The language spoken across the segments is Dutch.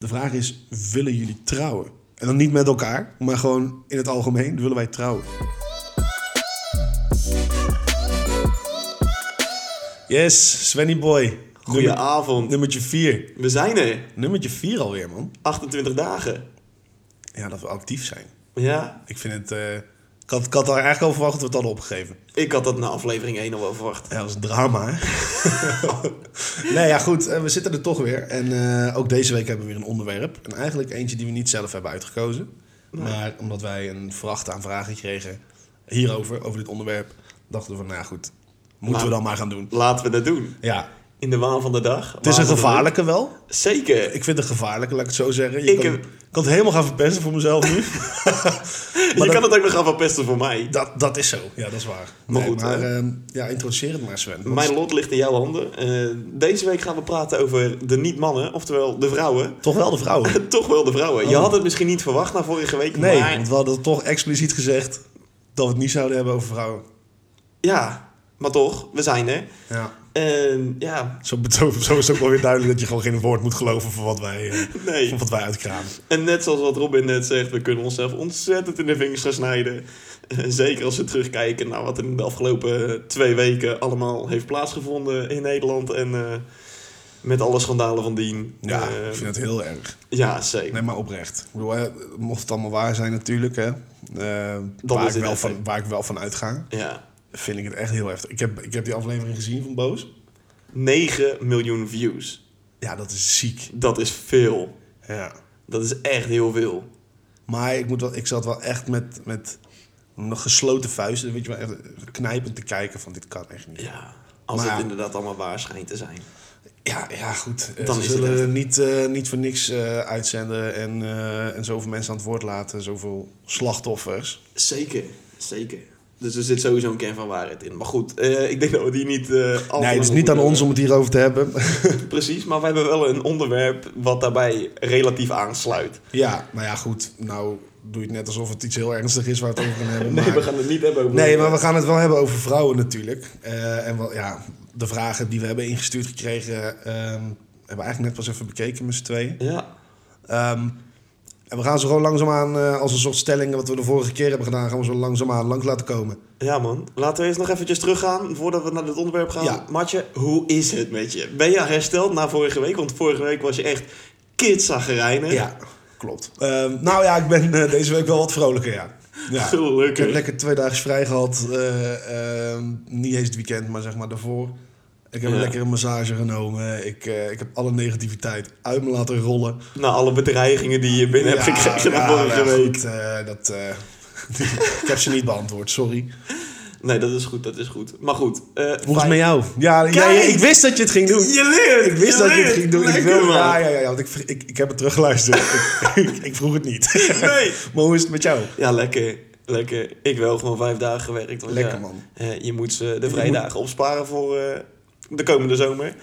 De vraag is, willen jullie trouwen? En dan niet met elkaar, maar gewoon in het algemeen, willen wij trouwen? Yes, Svenny boy. Nummer, Goedenavond. nummertje 4. We zijn er. Nummertje 4 alweer, man. 28 dagen. Ja, dat we actief zijn. Ja, Ik vind het... eh, ik, had, ik had daar eigenlijk al verwacht dat we het hadden opgegeven. ik had dat na aflevering 1 al wel verwacht. Ja, dat was een drama, hè? nee, ja, goed. eh, We zitten er toch weer. En eh, ook deze week hebben we weer een onderwerp. En eigenlijk eentje die we niet zelf hebben uitgekozen. Maar omdat wij een vraachtaanvraging kregen hierover, over dit onderwerp, dachten we van, nou ja, goed, moeten Maar- we dan maar gaan doen. Laten we dat doen. Ja, In de waan van de dag. het is een gevaarlijke wel. Zeker. Ik vind het een gevaarlijke, laat ik het zo zeggen. Je Ik kan, heb- kan het helemaal gaan verpesten voor mezelf nu. Je dat- kan het ook nog gaan verpesten voor mij. dat, dat is zo, ja, dat is waar. Maar Nee, goed, maar hè? ehm, ja, introduceer het maar, Sven. Want Mijn lot ligt in jouw handen. Eh, deze week gaan we praten over de niet-mannen, oftewel de vrouwen. Toch wel de vrouwen. Toch wel de vrouwen. Je Oh. had het misschien niet verwacht na vorige week, Nee, maar want we hadden toch expliciet gezegd dat we het niet zouden hebben over vrouwen. ja, maar toch, we zijn er. Ja. En ja, Zo, zo, zo is het ook wel weer duidelijk dat je gewoon geen woord moet geloven van wat wij, eh, nee. van wat wij uitkramen. En net zoals wat Robin net zegt, we kunnen onszelf ontzettend in de vingers gaan snijden. Eh, Zeker als we terugkijken naar wat er in de afgelopen eh, twee weken allemaal heeft plaatsgevonden in Nederland. En eh, met alle schandalen van dien. Ja, Eh, ik vind het heel erg. ja zeker. Nee, maar oprecht. Ik bedoel, hè, mocht het allemaal waar zijn natuurlijk, hè, eh, waar, ik is het wel echt, van, hè. waar ik wel van uitga, Ja. vind ik het echt heel heftig. Ik heb, ik heb die aflevering gezien van Boos. 9 miljoen views. Ja, dat is ziek. Dat is veel. Ja. Dat is echt heel veel. Maar ik, moet wel, ik zat wel echt met, met nog gesloten vuisten, weet je wel, echt knijpend te kijken van dit kan echt niet. Ja. Als Maar het ja. inderdaad allemaal waar schijnt te zijn. Ja, ja goed. Dan Dan ze is het zullen echt. niet, eh, niet voor niks eh, uitzenden en, eh, en zoveel mensen aan het woord laten, zoveel slachtoffers. Zeker, zeker. Dus er zit sowieso een kern van waarheid in. Maar goed, eh, ik denk dat we die niet... eh, al te nee, lang het is niet aan moeten- ons om het hierover te hebben. Precies, maar we hebben wel een onderwerp wat daarbij relatief aansluit. ja, nou ja, goed. Nou doe je het net alsof het iets heel ernstig is waar we het over gaan hebben. Maar... Nee, we gaan het niet hebben over. Nee, maar we gaan het wel hebben over vrouwen natuurlijk. Eh, en wel, ja, de vragen die we hebben ingestuurd gekregen, ehm, hebben we eigenlijk net pas even bekeken met z'n tweeën. Ja, Ehm, en we gaan ze gewoon langzaamaan, eh, als een soort stellingen wat we de vorige keer hebben gedaan, gaan we ze langzaamaan langs laten komen. ja, man. Laten we eerst nog eventjes teruggaan voordat we naar dit onderwerp gaan. Ja. Matje, hoe is het met je? Ben je hersteld na vorige week? Want vorige week was je echt kitzagrijnig. Ja, klopt. Ehm, nou ja, ik ben eh, deze week wel wat vrolijker, ja. ja. Ik heb Gelukkig. lekker twee dagen vrij gehad. eh, ehm, niet eens het weekend, maar zeg maar daarvoor. Ik heb Ja. lekker een massage genomen. Ik, eh, ik heb alle negativiteit uit me laten rollen. Na alle bedreigingen die je binnen Ja, hebt gekregen na ja, vorige ja, week. goed, eh, dat, eh, ik heb ze niet beantwoord, sorry. Nee, dat is goed, dat is goed. Maar goed. eh, Volgens fijn- mij jou. Ja, ja, ja, ik wist dat je het ging doen. Je leert! Ik wist dat je het leert. ging doen. Ik Lekker, wil, man. ja, ja, ja, ja, want ik, vr- ik, ik heb het teruggeluisterd. ik, ik, ik vroeg het niet. Nee. Maar hoe is het met jou? Ja, lekker. Lekker. Ik wel gewoon vijf dagen gewerkt. want Lekker, ja, man. eh, je moet ze de vrijdagen opsparen voor eh, de komende zomer.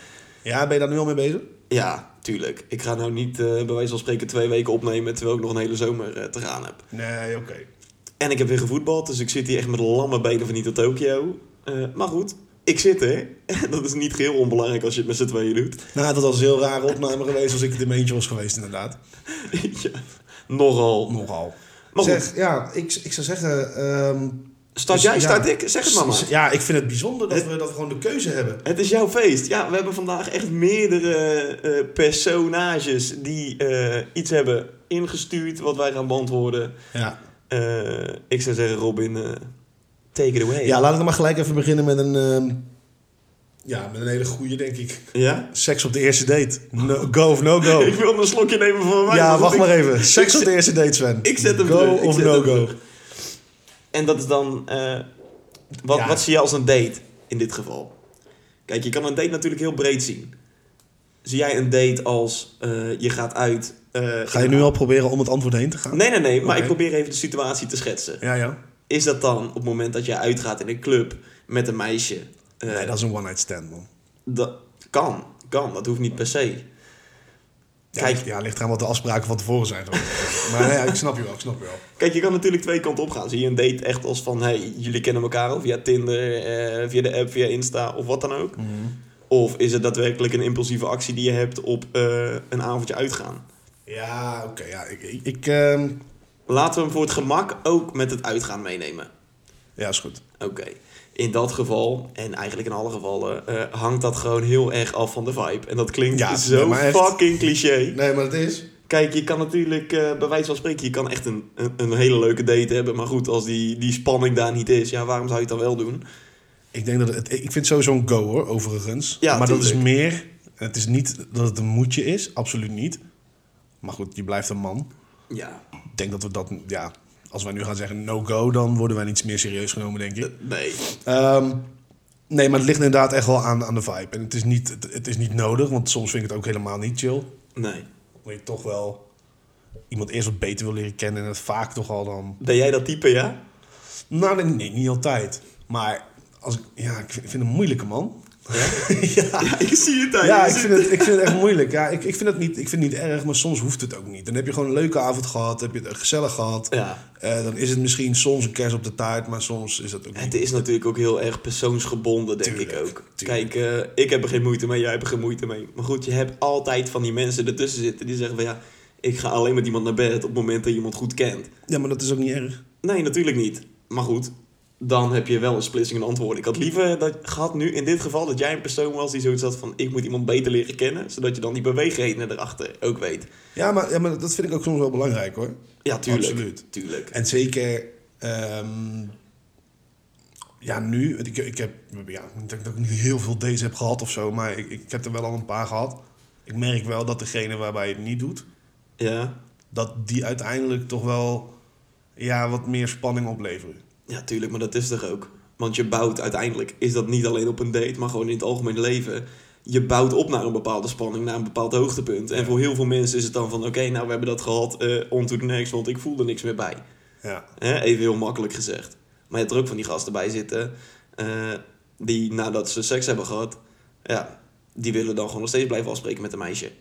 Ja, ben je daar nu al mee bezig? Ja, tuurlijk. Ik ga nou niet eh, bij wijze van spreken twee weken opnemen terwijl ik nog een hele zomer eh, te gaan heb. Nee, oké. En ik heb weer gevoetbald, dus ik zit hier echt met lamme benen van niet tot Tokio. Eh, maar goed, ik zit er. Dat is niet geheel onbelangrijk als je het met z'n tweeën doet. Nou, dat was een heel rare opname geweest als ik het in mijn eentje was geweest, inderdaad. ja, nogal. Nogal. Maar goed. zeg, ja, ik, ik zou zeggen... ehm, Start dus, jij, ja. start ik? Zeg het maar maar. s- Ja, ik vind het bijzonder dat we, dat we gewoon de keuze hebben. Het is jouw feest. Ja, we hebben vandaag echt meerdere eh, personages die eh, iets hebben ingestuurd wat wij gaan beantwoorden. Ja. Eh, ik zou zeggen, Robin, eh, take it away. ja, laat ik dan maar gelijk even beginnen met een... ehm, ja, met een hele goede, denk ik. Ja? Seks op de eerste date. No, go of no go. Ik wil een slokje nemen van mij. Oh. Ja, wacht maar even. even. Seks op de eerste date, Sven. Ik zet hem Go terug. Ik of zet no hem go. terug. En dat is dan... eh, wat, Ja. wat zie je als een date in dit geval? Kijk, je kan een date natuurlijk heel breed zien. Zie jij een date als eh, je gaat uit... eh, Ga je nu al proberen om het antwoord heen te gaan? Nee, nee, nee. Maar Oké. ik probeer even de situatie te schetsen. Ja, ja. Is dat dan op het moment dat je uitgaat in een club met een meisje? eh, Nee, dat is een one-night stand, man. dat kan, kan. Dat hoeft niet per se. Ja, Kijk. ligt- Ja, ligt eraan wat de afspraken van tevoren zijn. gewoon. maar ja, ik snap je wel, ik snap je wel. Kijk, je kan natuurlijk twee kanten op gaan. Zie je een date echt als van, hey, jullie kennen elkaar of via Tinder, eh, via de app, via Insta of wat dan ook. Mhm. Of is het daadwerkelijk een impulsieve actie die je hebt op eh, een avondje uitgaan? Ja, oké. ja, ik, ik, ik, ehm, Laten we hem voor het gemak ook met het uitgaan meenemen. ja, is goed. Oké. In dat geval, en eigenlijk in alle gevallen, eh, hangt dat gewoon heel erg af van de vibe. En dat klinkt Ja, nee, zo maar echt. fucking cliché. Nee, maar het is... Kijk, je kan natuurlijk, eh, bij wijze van spreken, je kan echt een, een, een hele leuke date hebben. Maar goed, als die, die spanning daar niet is, ja, waarom zou je het dan wel doen? Ik denk dat het... Ik vind het sowieso een go, hoor, overigens. Ja, maar dat is tuurlijk. meer... Het is niet dat het een moetje is. Absoluut niet. Maar goed, je blijft een man. Ja, Ik denk dat we dat... Ja, als wij nu gaan zeggen no-go, dan worden wij niet meer serieus genomen, denk ik. nee. Ehm, nee, maar het ligt inderdaad echt wel aan, aan de vibe. En het is, niet, het, het is niet nodig, want soms vind ik het ook helemaal niet chill. Nee. Omdat je toch wel iemand eerst wat beter wil leren kennen. En het vaak toch al dan... Ben jij dat type, ja? Nou, nee, nee, niet altijd. Maar als ik, ja, ik vind, ik vind het een moeilijke man. ja. Ja, ik zie het aan je Ja, ik gezicht. vind, het, ik vind het echt moeilijk. Ja, ik, ik, vind het niet, ik vind het niet erg, maar soms hoeft het ook niet. Dan heb je gewoon een leuke avond gehad, heb je het gezellig gehad. Ja. Eh, dan is het misschien soms een kers op de taart, maar soms is dat ook Het niet. is natuurlijk ook heel erg persoonsgebonden, denk ik Tuurlijk, ook. tuurlijk. Kijk, eh, ik heb er geen moeite mee, jij hebt er geen moeite mee. Maar goed, je hebt altijd van die mensen ertussen zitten die zeggen van ja, ik ga alleen met iemand naar bed op het moment dat je iemand goed kent. Ja, maar dat is ook niet erg. Nee, natuurlijk niet. Maar goed, dan heb je wel een splitsing in antwoorden. Ik had liever dat, gehad nu in dit geval dat jij een persoon was die zoiets had van ik moet iemand beter leren kennen, zodat je dan die beweegredenen erachter ook weet. Ja maar, ja, maar dat vind ik ook soms wel belangrijk hoor. Ja, tuurlijk. Absoluut. Tuurlijk. En zeker, ehm, ja, nu, want ik, ik heb, ja, ik denk dat ik niet heel veel dates heb gehad of zo, maar ik, ik heb er wel al een paar gehad. Ik merk wel dat degene waarbij je het niet doet, Ja. dat die uiteindelijk toch wel ja, wat meer spanning opleveren. Ja, tuurlijk, maar dat is toch ook. Want je bouwt uiteindelijk, is dat niet alleen op een date, maar gewoon in het algemeen leven. Je bouwt op naar een bepaalde spanning, naar een bepaald hoogtepunt. En voor heel veel mensen is het dan van, oké, nou we hebben dat gehad, eh on to the next, want ik voel er niks meer bij. Ja. Hè, even heel makkelijk gezegd. Maar je hebt er ook van die gasten bij zitten, eh, die nadat ze seks hebben gehad, ja, die willen dan gewoon nog steeds blijven afspreken met een meisje.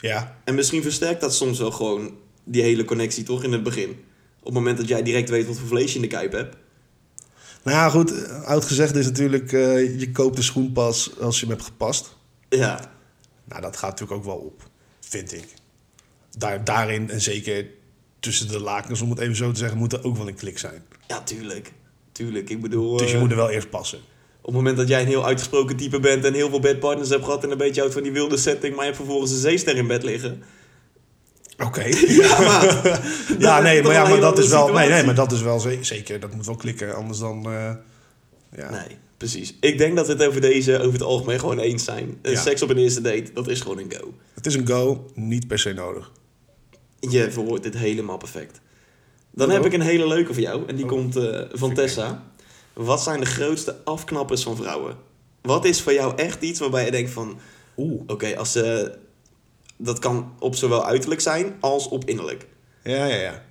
Ja, En misschien versterkt dat soms wel gewoon die hele connectie toch in het begin. Op het moment dat jij direct weet wat voor vlees je in de kuip hebt. nou ja, goed, eh, oud gezegd is natuurlijk, eh, je koopt de schoen pas als je hem hebt gepast. Ja, Nou, dat gaat natuurlijk ook wel op, vind ik. Daar, daarin en zeker tussen de lakens, om het even zo te zeggen, moet er ook wel een klik zijn. Ja, tuurlijk. Tuurlijk, ik bedoel... Dus je eh, moet er wel eerst passen. Op het moment dat jij een heel uitgesproken type bent... en heel veel bedpartners hebt gehad... en een beetje houdt van die wilde setting... maar je hebt vervolgens een zeester in bed liggen... Oké. Ja, maat. ja, Dan nee, heb je maar, toch ja, een maar hele dat is andere wel. Nee, nee, situatie. maar dat is wel ze- zeker. Dat moet wel klikken, anders dan. eh, ja. Nee, precies. Ik denk dat we het over deze over het algemeen gewoon eens zijn. Eh, Ja. Seks op een eerste date, dat is gewoon een go. Het is een go, niet per se nodig. Je verwoordt dit helemaal perfect. Dan Hallo. heb ik een hele leuke voor jou... en die Oh. komt eh, van Vind ik Tessa. Wat zijn de grootste afknappers van vrouwen? Wat is voor jou echt iets waarbij je denkt van... Oeh. Oké, als ze... Dat kan op zowel uiterlijk zijn als op innerlijk. Ja, ja, ja.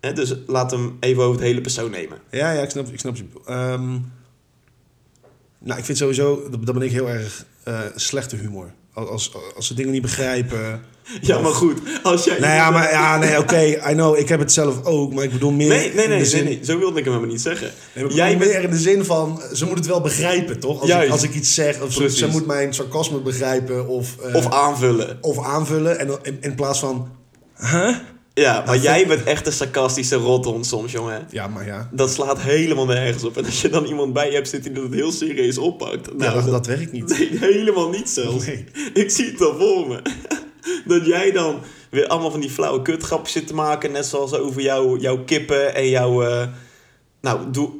Hè, dus laat hem even over het hele persoon nemen. Ja, ja, ik snap, ik snap je. bedoel. Ehm, nou, ik vind sowieso, dat, dat ben ik heel erg eh, slechte humor. Als, als, als ze dingen niet begrijpen. Ja, maar goed. Als jij... Nou ja, maar ja, nee, oké, I know, ik heb het zelf ook, maar ik bedoel meer. Nee, nee, in de nee, nee, zin- nee. Zo wilde ik hem helemaal niet zeggen. Nee, maar ik jij bedoel bent... meer in de zin van, ze moet het wel begrijpen, toch? Als, ik, Juist. als ik iets zeg, of ze, Precies. ze moet mijn sarcasme begrijpen of, eh, Of aanvullen. of aanvullen. En dan in, in plaats van, Ja, maar jij bent echt een sarcastische rothond soms, jongen. ja, maar ja. Dat slaat helemaal nergens op. En als je dan iemand bij je hebt zitten die dat heel serieus oppakt... ja Nou, dat, dat, dat werkt niet. Nee, helemaal niet zelfs. Nee. Ik zie het al voor me. Dat jij dan weer allemaal van die flauwe kutgrapjes zit te maken. Net zoals over jou, jouw kippen en jouw... eh, nou, doe...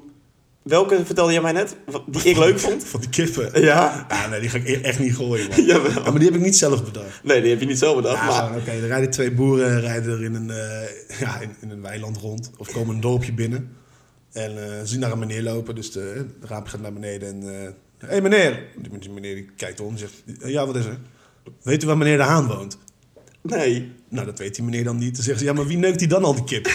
Welke vertelde jij mij net? Wat- Die ik leuk vond? Van die kippen. Ja. Ja, nee, die ga ik e- echt niet gooien, man. Jawel. Ja, maar die heb ik niet zelf bedacht. Nee, die heb je niet zelf bedacht. Ja, maar gewoon, oké, er rijden twee boeren rijden er in een, eh, ja, in, in een weiland rond. Of komen een dorpje binnen. En eh, zien naar een meneer lopen. Dus de, de raap gaat naar beneden en... Hé, hey, meneer! Die, die meneer die kijkt om en zegt... "Eh, Ja, wat is er? Weet u waar meneer De Haan woont? nee. Nou, dat weet die meneer dan niet. Dan zegt ze, ja, maar wie neukt die dan al die kip?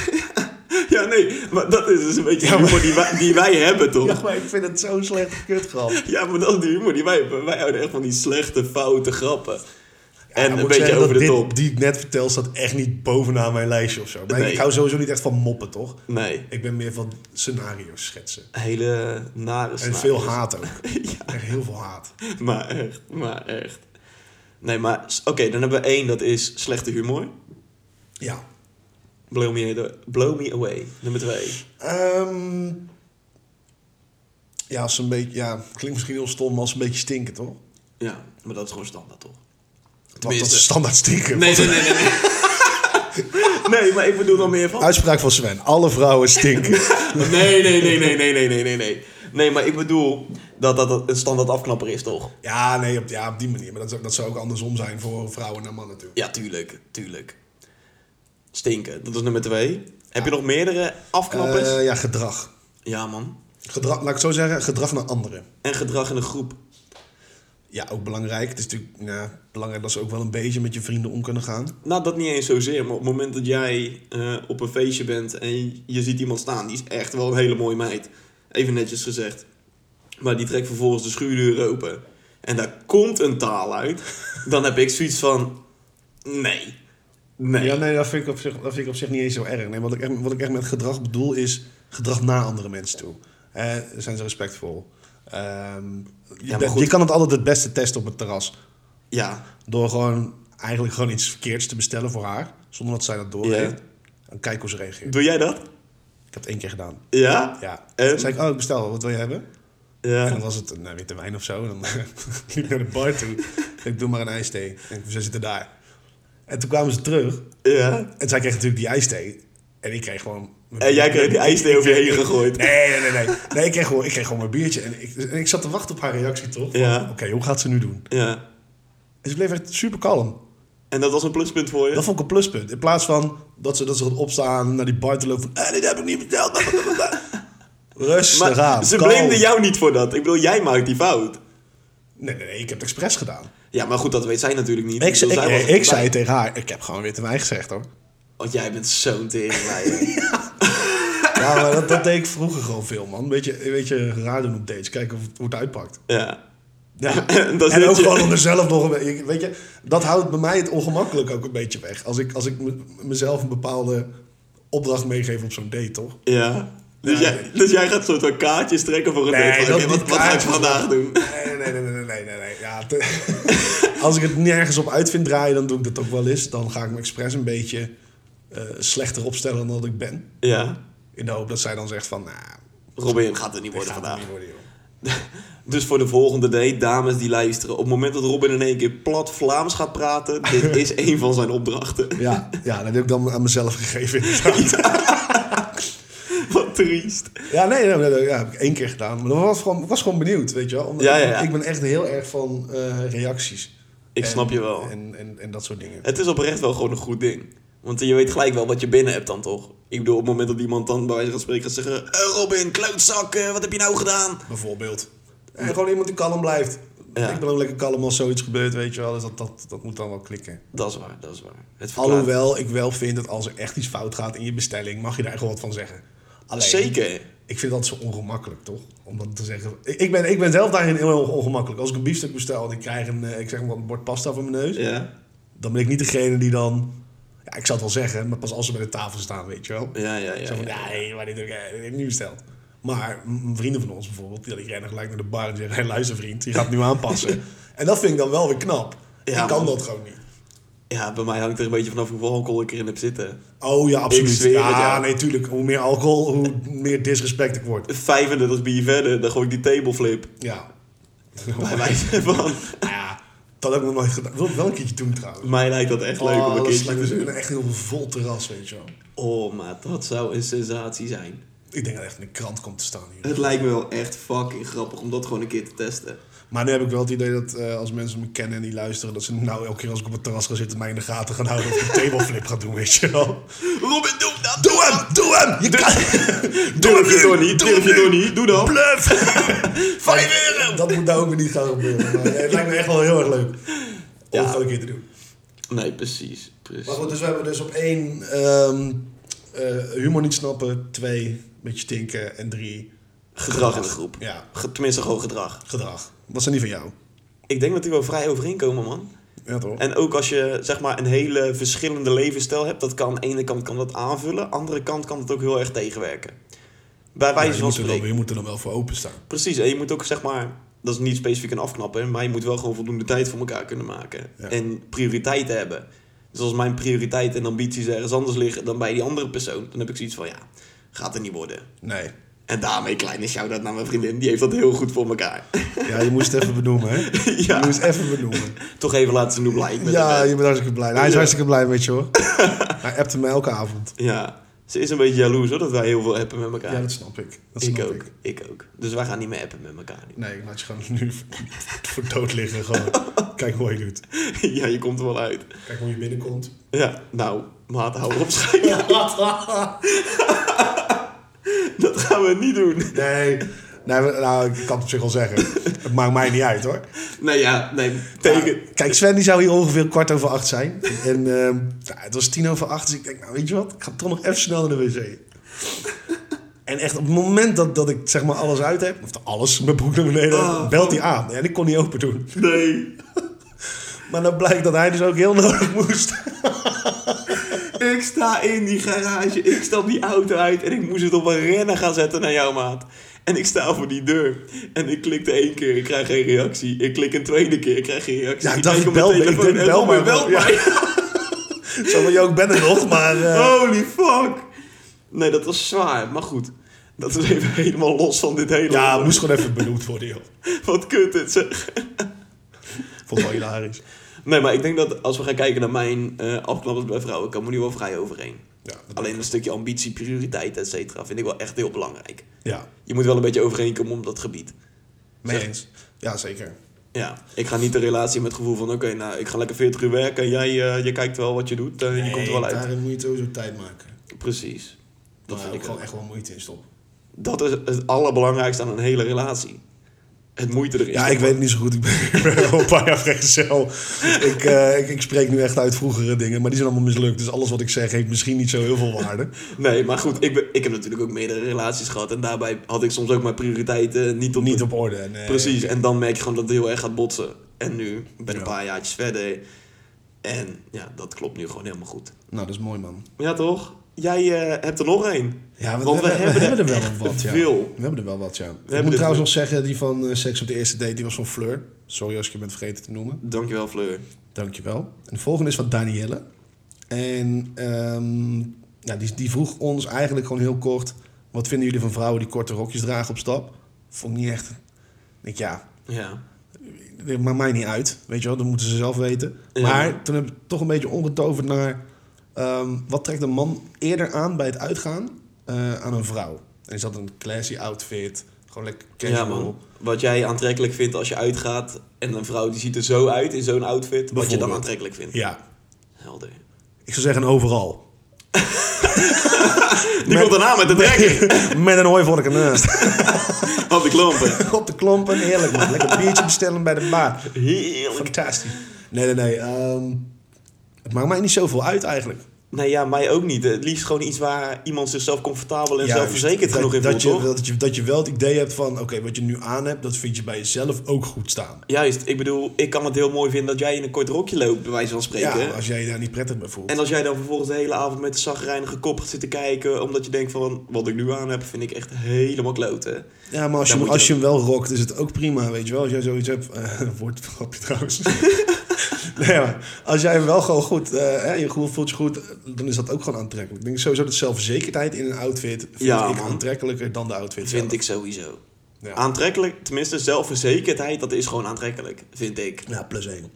Ja, nee. Maar dat is dus een beetje de Ja, maar- humor die wij, die wij hebben, toch? Ja, maar ik vind het zo'n slechte kutgrap. Ja, maar dat is de humor die wij hebben. Wij houden echt van die slechte, foute grappen. Ja, en moet een ik beetje zeggen over de dat dit- top. Die ik net vertel staat echt niet bovenaan mijn lijstje of zo. Maar Nee. ik hou sowieso niet echt van moppen, toch? Nee. Ik ben meer van scenario's schetsen. Hele nare En snaar. veel haat ook. Ja. Echt heel veel haat. Maar echt, maar echt. Nee, maar s- oké, dan hebben we één, dat is slechte humor. Ja. Blow me, a- blow me away, nummer twee. Ehm, ja, als een beetje, ja, klinkt misschien heel stom, maar als een beetje stinken, toch? Ja, maar dat is gewoon standaard, toch? Want dat Tenminste. is standaard stinken. Nee, nee, nee, nee. Nee, nee maar ik bedoel dan meer van... Uitspraak van Sven. Alle vrouwen stinken. Nee, nee, nee, nee, nee, nee, nee, nee, nee. Nee, maar ik bedoel dat dat- dat een standaard afknapper is, toch? ja, nee, op, ja, op die manier. Maar dat, is ook- dat zou ook andersom zijn voor vrouwen naar mannen natuurlijk. Ja, tuurlijk, tuurlijk. Stinken, dat is nummer twee. Heb je nog meerdere afknappers? Eh, ja, gedrag. Ja, man. gedrag. Laat ik het zo zeggen, gedrag naar anderen. En gedrag in een groep. Ja, ook belangrijk. Het is natuurlijk nou, belangrijk dat ze ook wel een beetje met je vrienden om kunnen gaan. Nou, dat niet eens zozeer, maar op het moment dat jij eh, op een feestje bent en je ziet iemand staan, die is echt wel een hele mooie meid. Even netjes gezegd. Maar die trekt vervolgens de schuurdeur open en daar komt een taal uit, dan heb ik zoiets van: nee. Nee. Ja, nee, dat vind, ik op zich, dat vind ik op zich niet eens zo erg. Nee, wat, ik echt, wat ik echt met gedrag bedoel is gedrag naar andere mensen toe. Eh, zijn ze respectvol? Ehm, je, maar bent- goed. je kan het altijd het beste testen op het terras. ja. Door gewoon eigenlijk gewoon iets verkeerds te bestellen voor haar. Zonder dat zij dat doorheeft. En kijk hoe ze reageert. Doe jij dat? Ik heb het één keer gedaan. Ja? Ja. En? Toen zei ik, oh, ik bestel wel. Wat wil je hebben? En dan Ja. was het een eh, witte wijn of zo. En dan liep ik naar de bar toe. ik doe maar een ijsthee. En ze zitten daar. En toen kwamen ze terug. ja. En zij kreeg natuurlijk die ijsthee. En ik kreeg gewoon... mijn En jij kreeg die ijsthee over je heen gegooid. Nee, nee, nee. Nee, nee ik, kreeg gewoon, ik kreeg gewoon mijn biertje. En ik, en ik zat te wachten op haar reactie, toch? Van, Ja. Oké, hoe gaat ze nu doen? Ja. En ze bleef echt super kalm. En dat was een pluspunt voor je? Dat vond ik een pluspunt. In plaats van dat ze, dat ze gaat opstaan naar die bar te lopen van... Eh, dit heb ik niet verteld. Rustig aan. ze kalm. blameden jou niet voor dat. Ik bedoel, jij maakt die fout. Nee, nee, nee, ik heb het expres gedaan. Ja, maar goed, dat weet zij natuurlijk niet. Ik, bedoel, ik, zij was ik, erbij. zei tegen haar, ik heb gewoon witte wijn gezegd hoor. Want jij bent zo'n teringleier. Ja, maar dat, dat deed ik vroeger gewoon veel man. Weet je, weet je raar doen op dates, kijken of het, hoe het uitpakt. ja. Ja. En En, dan zit ook je- gewoon om mezelf nog een beetje... Weet je, dat houdt bij mij het ongemakkelijk ook een beetje weg. Als ik, als ik me- mezelf een bepaalde opdracht meegeef op zo'n date, toch? Ja. Dus, Ja, jij, nee. dus jij gaat soort van kaartjes trekken voor een Nee, date. Van, dat oké, wat, niet wat ga ik kaartjes. vandaag doen? Nee, nee, nee, nee, nee, nee, nee. Ja, te- als ik het nergens op uit vind draaien, dan doe ik dat ook wel eens. Dan ga ik me expres een beetje eh, slechter opstellen dan dat ik ben. Ja. In de hoop dat zij dan zegt van, nou, Robin gaat er niet dit worden gaat het vandaag. niet worden, joh. Dus voor de volgende date, dames die luisteren. Op het moment dat Robin in één keer plat Vlaams gaat praten, dit is één van zijn opdrachten. Ja, ja, dat heb ik dan aan mezelf gegeven inderdaad. Wat triest. Ja, nee, nee, nee, nee, ja, heb ik één keer gedaan. Maar dan was ik gewoon, was gewoon benieuwd, weet je wel. Omdat Ja, ja, ja. Ik ben echt heel erg van eh, reacties. Ik En- snap je wel. En, en, en dat soort dingen. Het is oprecht wel gewoon een goed ding. Want je weet gelijk wel wat je binnen hebt dan toch? Ik bedoel, op het moment dat iemand dan bij wijze van spreken gaat zeggen... "Eh, Robin, klootzak, eh, wat heb je nou gedaan? Bijvoorbeeld. En gewoon iemand die kalm blijft. Ja. Ik ben ook lekker kalm als zoiets gebeurt, weet je wel. Dus dat, dat, dat moet dan wel klikken. Dat is waar, dat is waar. Het verklaart- Alhoewel ik wel vind dat als er echt iets fout gaat in je bestelling, mag je daar gewoon wat van zeggen. Alleen, Zeker. Ik vind dat zo ongemakkelijk, toch? Om dat te zeggen. Ik ik ben, ik ben zelf daarin heel erg ongemakkelijk. Als ik een biefstuk bestel en ik krijg een, eh, ik zeg maar, wat, een bord pasta voor mijn neus... Ja, dan ben ik niet degene die dan... Ja, ik zou het wel zeggen, maar pas als ze bij de tafel staan, weet je wel. ja, ja. ja, Zo van, ja. ja, hé, maar dit heb ik, eh, dit heb ik niet besteld. Maar m- vrienden van ons bijvoorbeeld, die die rennen gelijk naar de bar en zeggen... Hé, luister vriend, je gaat nu aanpassen. en dat vind ik dan wel weer knap. Ja, ik kan man. dat gewoon niet. Ja, bij mij hangt er een beetje vanaf hoeveel alcohol ik erin heb zitten. Oh ja, Ik absoluut. zweer het, ja. Ja, nee, tuurlijk. Hoe meer alcohol, hoe meer disrespect ik word. 35 bier verder, dan gooi ik die tableflip. Ja. Bij wijze van... ja, dat heb ik nog nooit gedaan. Wil ik wel een keertje doen trouwens. Mij lijkt dat echt leuk om oh, een dat is keertje leuk. te Dus doen. een echt heel vol terras, weet je wel. Oh, maar dat zou een sensatie zijn. Ik denk dat echt in de krant komt te staan hier. Het lijkt me wel echt fucking grappig om dat gewoon een keer te testen. Maar nu heb ik wel het idee dat eh, als mensen me kennen en die luisteren... dat ze nou elke keer als ik op het terras ga zitten... mij in de gaten gaan houden of ik een tableflip ga doen, weet je wel. Robin, doe dat! Doe hem! Doe hem! Je kan... Doe het je nu! door niet, doe het je door niet, doe dan. Bluff! Vijf euro! Dat moet nou ook weer niet gaan gebeuren. Maar nee, het lijkt me echt wel heel erg leuk. Om Ja. het gewoon een keer te doen. Nee, precies. Maar precies. goed, dus we hebben dus op één ehm, eh, humor niet snappen, twee een beetje stinken en drie Gedrag in de groep. ja, Ge- Tenminste, gewoon gedrag. gedrag. Wat zijn die van jou? Ik denk dat die wel vrij overeenkomen, man. Ja toch? En ook als je zeg maar een hele verschillende levensstijl hebt, dat kan aan de ene kant kan dat aanvullen, aan de andere kant kan het ook heel erg tegenwerken. Bij Ja, wijze je, van moet er dan, spreken. je moet er dan wel voor openstaan. Precies, en je moet ook zeg maar dat is niet specifiek een afknappen, maar je moet wel gewoon voldoende tijd voor elkaar kunnen maken. Ja. En prioriteiten hebben. Dus als mijn prioriteiten en ambities ergens anders liggen dan bij die andere persoon, dan heb ik zoiets van ja, gaat er niet worden. Nee. En daarmee kleine shout-out naar mijn vriendin, die heeft dat heel goed voor elkaar. Ja, je moest het even benoemen, hè? Ja. Je moest even benoemen. Toch even laten zien hoe blij ik ben. Ja, je bent hartstikke blij. Nou, Hij is Ja. hartstikke blij met je, hoor. Hij appte me elke avond. ja, ze is een beetje jaloers hoor, dat wij heel veel appen met elkaar. Ja, dat snap ik. Dat ik snap ik. ook, ik. ook. Dus wij gaan niet meer appen met elkaar nu. Nee, ik laat je gewoon nu voor dood liggen. Gewoon. Kijk hoe je doet. ja, je komt er wel uit. Kijk hoe je binnenkomt. Ja, nou, maat, hou op schijnen. Dat gaan we niet doen. Nee. nee, we- nou, ik kan het op zich wel zeggen. Het maakt mij niet uit, hoor. Nou ja, nee, tegen. Ja, kijk, Sven die zou hier ongeveer kwart over acht zijn. En ehm, nou, het was tien over acht, dus ik denk, nou weet je wat, ik ga toch nog even snel naar de wc. En echt op het moment dat, dat ik zeg maar alles uit heb, of alles, mijn broek naar beneden, Oh. belt hij aan. En ik kon niet open doen. Nee, Maar dan blijkt dat hij dus ook heel nodig moest. ik sta in die garage, ik stap die auto uit en ik moest het op een rennen gaan zetten naar jouw maat. En ik sta voor die deur. En ik klikte één keer, ik krijg geen reactie. Ik klik een tweede keer, ik krijg geen reactie. Ja, ik dacht, kijk op bel mijn me, ik telefoon denk, en bel Robin me wel. belt Ja. mij. Zo van, joh, ik ben er nog, maar... eh, Holy fuck! Nee, dat was zwaar, maar goed. Dat is even helemaal los van dit hele... ja, onderwerp. moest gewoon even benoemd worden, joh. Wat kut het zeg. Vond ik wel hilarisch. Nee, maar ik denk dat als we gaan kijken naar mijn eh afknappers bij vrouwen... komen we nu wel vrij overeen. Ja, dat- Alleen een stukje ambitie, prioriteit, et cetera... vind ik wel echt heel belangrijk. ja Je moet wel een beetje overeenkomen op dat gebied. mee Zeg- eens. Ja, zeker. Ja, ik ga niet de relatie met het gevoel van... oké, nou, ik ga lekker 40 uur werken... en jij eh, je kijkt wel wat je doet, eh, je komt er wel Nee, uit. Daarin moet je sowieso tijd maken. Precies. Daar Dat vind heb ik ik wel. gewoon echt wel moeite in stoppen. Dat is het allerbelangrijkste aan een hele relatie. Het moeite erin. Ja, ik weet het niet zo goed. Ik ben, ik ben al een paar jaar vrijgezel. Ik, eh, ik, ik spreek nu echt uit vroegere dingen, maar die zijn allemaal mislukt. Dus alles wat ik zeg heeft misschien niet zo heel veel waarde. Nee, maar goed, ik, ben, ik heb natuurlijk ook meerdere relaties gehad. En daarbij had ik soms ook mijn prioriteiten niet op... Niet op orde. eh, Nee. Precies, en dan merk je gewoon dat het heel erg gaat botsen. En nu ben ik Ja. een paar jaartjes verder. En ja, dat klopt nu gewoon helemaal goed. Nou, dat is mooi, man. Ja, toch? Jij eh, hebt er nog één. Ja, want Want we, we we hebben hebben er er wel echt wat. Ja. veel. We hebben er wel wat, ja. ik hebben moet er trouwens nog zeggen, die van eh, Seks op de Eerste Date, die was van Fleur. Sorry als ik je bent vergeten te noemen. Dankjewel, Fleur. Dankjewel. En de volgende is van Danielle. En ehm, ja, die, die vroeg ons eigenlijk gewoon heel kort... wat vinden jullie van vrouwen die korte rokjes dragen op stap? Vond ik niet echt... Ik denk, ja, Ja. dat maakt mij niet uit. Weet je wel, dat moeten ze zelf weten. Ja. Maar toen heb ik toch een beetje omgetoverd naar... ehm, wat trekt een man eerder aan bij het uitgaan eh, aan een vrouw? En is dat een classy outfit? Gewoon lekker ja, casual? man. Wat jij aantrekkelijk vindt als je uitgaat... en een vrouw die ziet er zo uit in zo'n outfit... wat je dan Bijvoorbeeld. aantrekkelijk vindt. Ja. Helder. Ik zou zeggen overal. Die Met- komt daarna met de trekker. Met een hooivork ernaast. Op de klompen. Op de klompen, heerlijk man. Lekker een biertje bestellen bij de bar. Heerlijk. Fantastisch. Nee, nee, nee. ehm, het maakt mij niet zoveel uit eigenlijk. Nee, ja, mij ook niet. Het liefst gewoon iets waar iemand zichzelf comfortabel en Ja, zelfverzekerd dat- genoeg in voelt, dat je, toch? dat, je, dat je wel het idee hebt van... Oké, wat je nu aan hebt, dat vind je bij jezelf ook goed staan. Juist, ik bedoel, ik kan het heel mooi vinden dat jij in een kort rokje loopt, bij wijze van spreken. Ja, als jij je daar niet prettig bij voelt. En als jij dan vervolgens de hele avond met de zagrijnige kop gaat zitten kijken, omdat je denkt van, wat ik nu aan heb, vind ik echt helemaal kloten. ja, maar als je, hem- dan moet je als je dat- hem wel rokt, is het ook prima, weet je wel. Als jij zoiets hebt... eh wordt een grapje trouwens. nee, maar als jij hem wel gewoon goed... eh, hè, je gevoel voelt je goed, dan is dat ook gewoon aantrekkelijk. Ik denk sowieso dat zelfverzekerdheid in een outfit... vind Ja, ik man. aantrekkelijker dan de outfit zelf. Vind ik sowieso. Ja. Aantrekkelijk, tenminste zelfverzekerdheid, dat is gewoon aantrekkelijk, vind ik. Ja, plus één.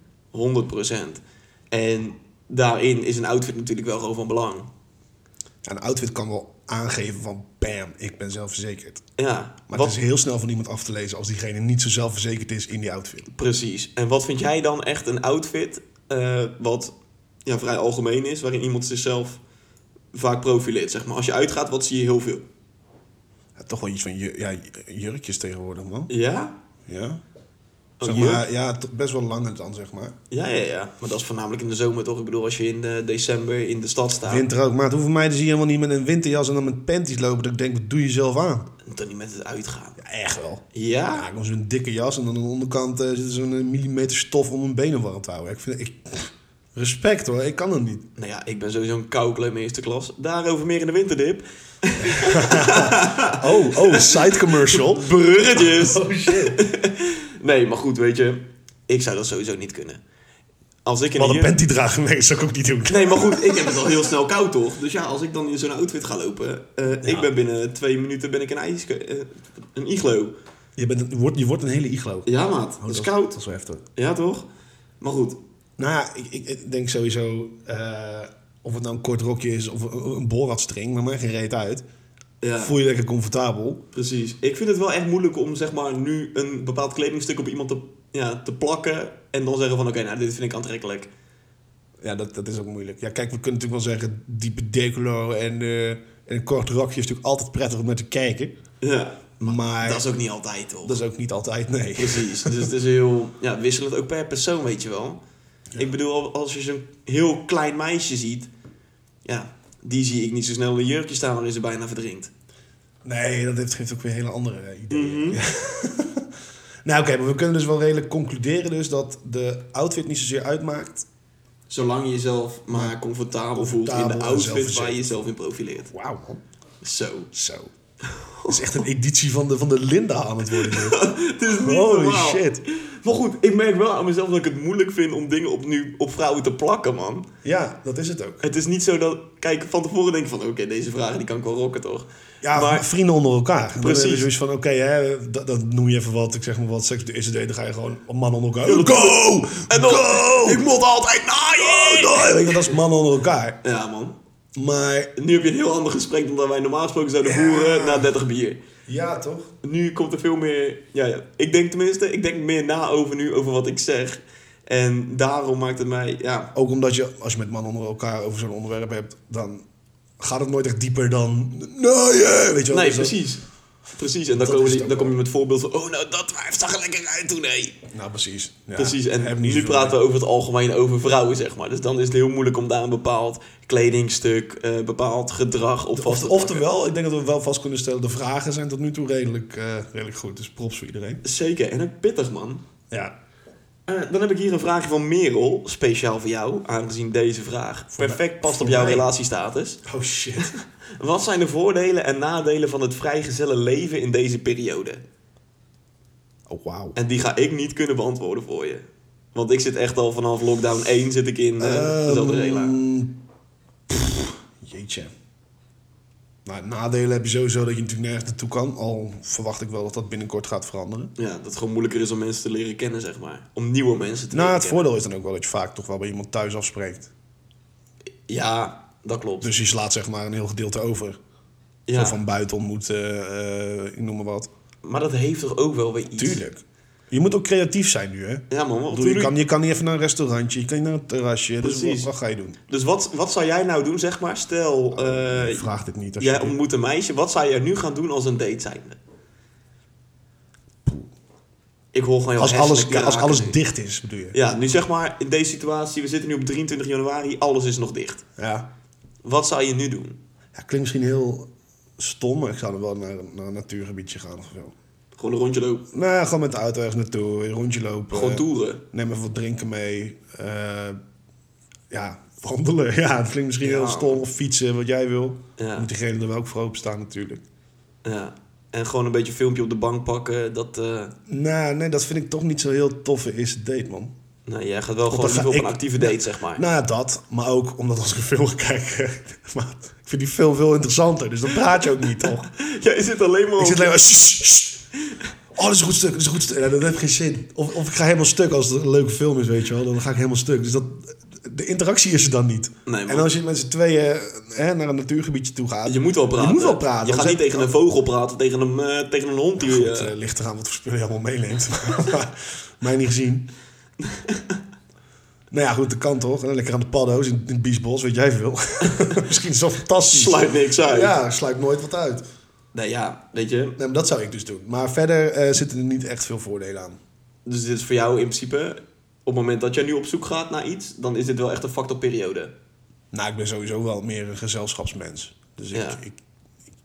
100%. En daarin is een outfit natuurlijk wel gewoon van belang. Ja, een outfit kan wel aangeven van bam, ik ben zelfverzekerd. Ja, Maar wat- het is heel snel van iemand af te lezen als diegene niet zo zelfverzekerd is in die outfit. Precies. En wat vind jij dan echt een outfit eh, wat ja, vrij algemeen is, waarin iemand zichzelf vaak profileert? Zeg maar. Als je uitgaat, wat zie je heel veel? Ja, toch wel iets van ju- ja, jurkjes tegenwoordig, man. Ja? Ja. Oh, Zeg maar, ja, to- best wel lang dan, zeg maar. Ja, ja, ja. Maar dat is voornamelijk in de zomer toch? Ik bedoel, als je in eh, december in de stad staat, Winter ook. Maar het hoeven mij te zien helemaal niet met een winterjas en dan met panties lopen. Dat ik denk, wat doe je zelf aan? dan niet met het uitgaan. Ja, echt wel. Ja, Ja? ik heb zo'n dikke jas en dan aan de onderkant eh, zit zo'n eh, millimeter stof om mijn benen warm te houden. Ik vind, ik, respect hoor, ik kan het niet. Nou ja, ik ben sowieso een koukleum eerste klas. Daarover meer in de winterdip. Oh, oh, side commercial. Bruggetjes! Oh shit. Nee, Nee, maar goed, weet je. Ik zou dat sowieso niet kunnen. Als ik in Wat een een jur- panty dragen, nee, dat zou ik ook niet doen. Nee, maar goed, ik heb het al heel snel koud, toch? Dus ja, als ik dan in zo'n outfit ga lopen... eh, Ik ben binnen twee minuten ben ik een, ijs, eh, een iglo. Je, bent een- je, wordt, je wordt een hele iglo. Ja, maat. Oh, dat is Dat koud. is wel heftig. Ja, toch? Maar goed, Nou ja, ik, ik, ik denk sowieso... eh, of het nou een kort rokje is of een, een boratstring, maar maakt geen reet uit. ja, Voel je lekker comfortabel. precies. Ik vind het wel echt moeilijk om zeg maar, nu een bepaald kledingstuk op iemand te, ja, te plakken... en dan zeggen van, oké, nou, dit vind ik aantrekkelijk. Ja, dat, dat is ook moeilijk. Ja, kijk, we kunnen natuurlijk wel zeggen... diepe decollo en, eh, en een kort rokje is natuurlijk altijd prettig om naar te kijken. Ja, Maar dat is ook niet altijd, toch? dat is ook niet altijd, nee. Precies, dus het is heel ja, wisselend ook per persoon, weet je wel. Ik bedoel, als je zo'n heel klein meisje ziet, ja, die zie ik niet zo snel in een jurkje staan waarin ze bijna verdrinkt. Nee, dat heeft, geeft ook weer hele andere eh, ideeën. Mhm. Ja. nou oké, maar we kunnen dus wel redelijk concluderen dus dat de outfit niet zozeer uitmaakt. Zolang je jezelf maar comfortabel voelt in Comfortabel de en outfit zelfverzekerd. waar je jezelf in profileert. Wauw man, Zo. zo. Dat is echt een editie van de, van de Linda aan het worden. dit. Het is niet Holy normaal. shit. Maar goed, ik merk wel aan mezelf dat ik het moeilijk vind om dingen op, nu, op vrouwen te plakken, man. Ja, dat is het ook. Het is niet zo dat, kijk, van tevoren denk ik van, oké, deze vragen die kan ik wel rocken, toch? Ja, Maar- vrienden onder elkaar. Dan Precies. heb je zoiets van, oké, hè, dat, dat noem je even wat. Ik zeg maar wat, seks op de eerste date, dan ga je gewoon man onder elkaar. Go! Go! En dan, ik moet altijd naaien! Nee, weet je, dat is man onder elkaar. Ja, man. Maar Nu heb je een heel ander gesprek dan dat wij normaal gesproken zouden voeren na 30 bier. ja, toch? Nu komt er veel meer. Ja, ja. Ik denk tenminste, ik denk meer na over nu over wat ik zeg. En daarom maakt het mij. Ja, Ook omdat je, als je met mannen onder elkaar over zo'n onderwerp hebt, dan gaat het nooit echt dieper dan. Nee, eh, weet je wel. nee, Dus dat- precies. Precies, en dan, Dat komen is die- het dan ook kom je met voorbeeld van. Oh, nou dat wijf zag er lekker uit toen, hé. nou, precies. Ja, precies, heb en niet nu zoveel praten meer. we over het algemeen over vrouwen, zeg maar. Dus dan is het heel moeilijk om daar een bepaald kledingstuk, eh, bepaald gedrag op vast te Of, pakken. oftewel, ik denk dat we wel vast kunnen stellen, de vragen zijn tot nu toe redelijk, eh, redelijk goed. Dus props voor iedereen. Zeker, en ook pittig, man. Ja. Eh, dan heb ik hier een vraagje van Merel, speciaal voor jou, aangezien deze vraag perfect past op voor jouw mij. relatiestatus. Oh shit. Wat zijn de voordelen en nadelen van het vrijgezellen leven in deze periode? Oh wauw. En die ga ik niet kunnen beantwoorden voor je. Want ik zit echt al vanaf lockdown 1 zit ik in eh Oh. dezelfde regelaar. Ehm, pff, jeetje. Nou, nadelen heb je sowieso dat je natuurlijk nergens naartoe kan. Al verwacht ik wel dat dat binnenkort gaat veranderen. Ja, dat het gewoon moeilijker is om mensen te leren kennen, zeg maar. Om nieuwe mensen te Nou, leren het voordeel is dan ook wel dat je vaak toch wel bij iemand thuis afspreekt. kennen. Ja, dat klopt. Dus je slaat zeg maar een heel gedeelte over. ja. Zo van buiten ontmoeten, eh, ik noem maar wat. Maar dat heeft toch ook wel weer iets? Tuurlijk. Je moet ook creatief zijn nu, hè? Ik Ja man, want bedoel, je, tuurlijk- kan, je kan niet even naar een restaurantje, je kan niet naar een terrasje. Dus wat, Precies. wat ga je doen? Dus wat, wat zou jij nou doen, zeg maar? Stel, eh, Vraag dit niet. Als Jij je dit- ontmoet een meisje, wat zou je nu gaan doen als een date zijnde? Ik hoor gewoon heel als, hersenen alles, als kraken alles nu. dicht is, bedoel je? Ja, nu zeg maar in deze situatie, we zitten nu op 23 januari, alles is nog dicht. Ja. Wat zou je nu doen? Ja, klinkt misschien heel stom, maar ik zou dan wel naar, naar een natuurgebiedje gaan of zo. Gewoon een rondje lopen, Nou, ja, gewoon met de auto ergens naartoe, een rondje lopen. gewoon toeren. Neem even wat drinken mee. eh, ja, wandelen. Ja, het klinkt misschien Ja. heel stom. Of fietsen, wat jij wil. Ja. Moet diegene er wel ook voor openstaan natuurlijk. Ja. En gewoon een beetje een filmpje op de bank pakken. Dat, eh, Nou, nee, dat vind ik toch niet zo heel toffe eerste date, man. nou, jij gaat wel dan gewoon ga liever op ik- een actieve date, zeg maar. Nou ja, dat. Maar ook omdat als ik een film kijk... eh, maar ik vind die film veel interessanter. Dus dan praat je ook niet, toch? jij zit alleen maar... Ik op- zit alleen maar... "Sst, sst." Oh, dat is een goed stuk, dat is een goed stuk. Ja, dat heeft geen zin. Of, of ik ga helemaal stuk als het een leuke film is, weet je wel. Dan ga ik helemaal stuk. Dus dat, de interactie is er dan niet. Nee, man. en als je met z'n tweeën hè, naar een natuurgebiedje toe gaat... Je moet wel praten. Je moet wel praten. Je gaat want niet zij- tegen een vogel praten, tegen een, eh, tegen een hond die... Goed, eh, eh, ligt eraan wat voor spullen je allemaal meeneemt. Maar mij niet gezien. nou ja, goed, dat kan toch. En dan lekker aan de paddo's in, in het biesbos, wat jij veel. Misschien is dat fantastisch. Sluit niks uit. Ja, sluit nooit wat uit. Nou ja, weet je, Nee, maar dat zou ik dus doen. Maar verder eh, zitten er niet echt veel voordelen aan. Dus dit is voor jou in principe, op het moment dat jij nu op zoek gaat naar iets, dan is dit wel echt een factor periode. Nou, ik ben sowieso wel meer een gezelschapsmens. Dus ik, Ja. ik,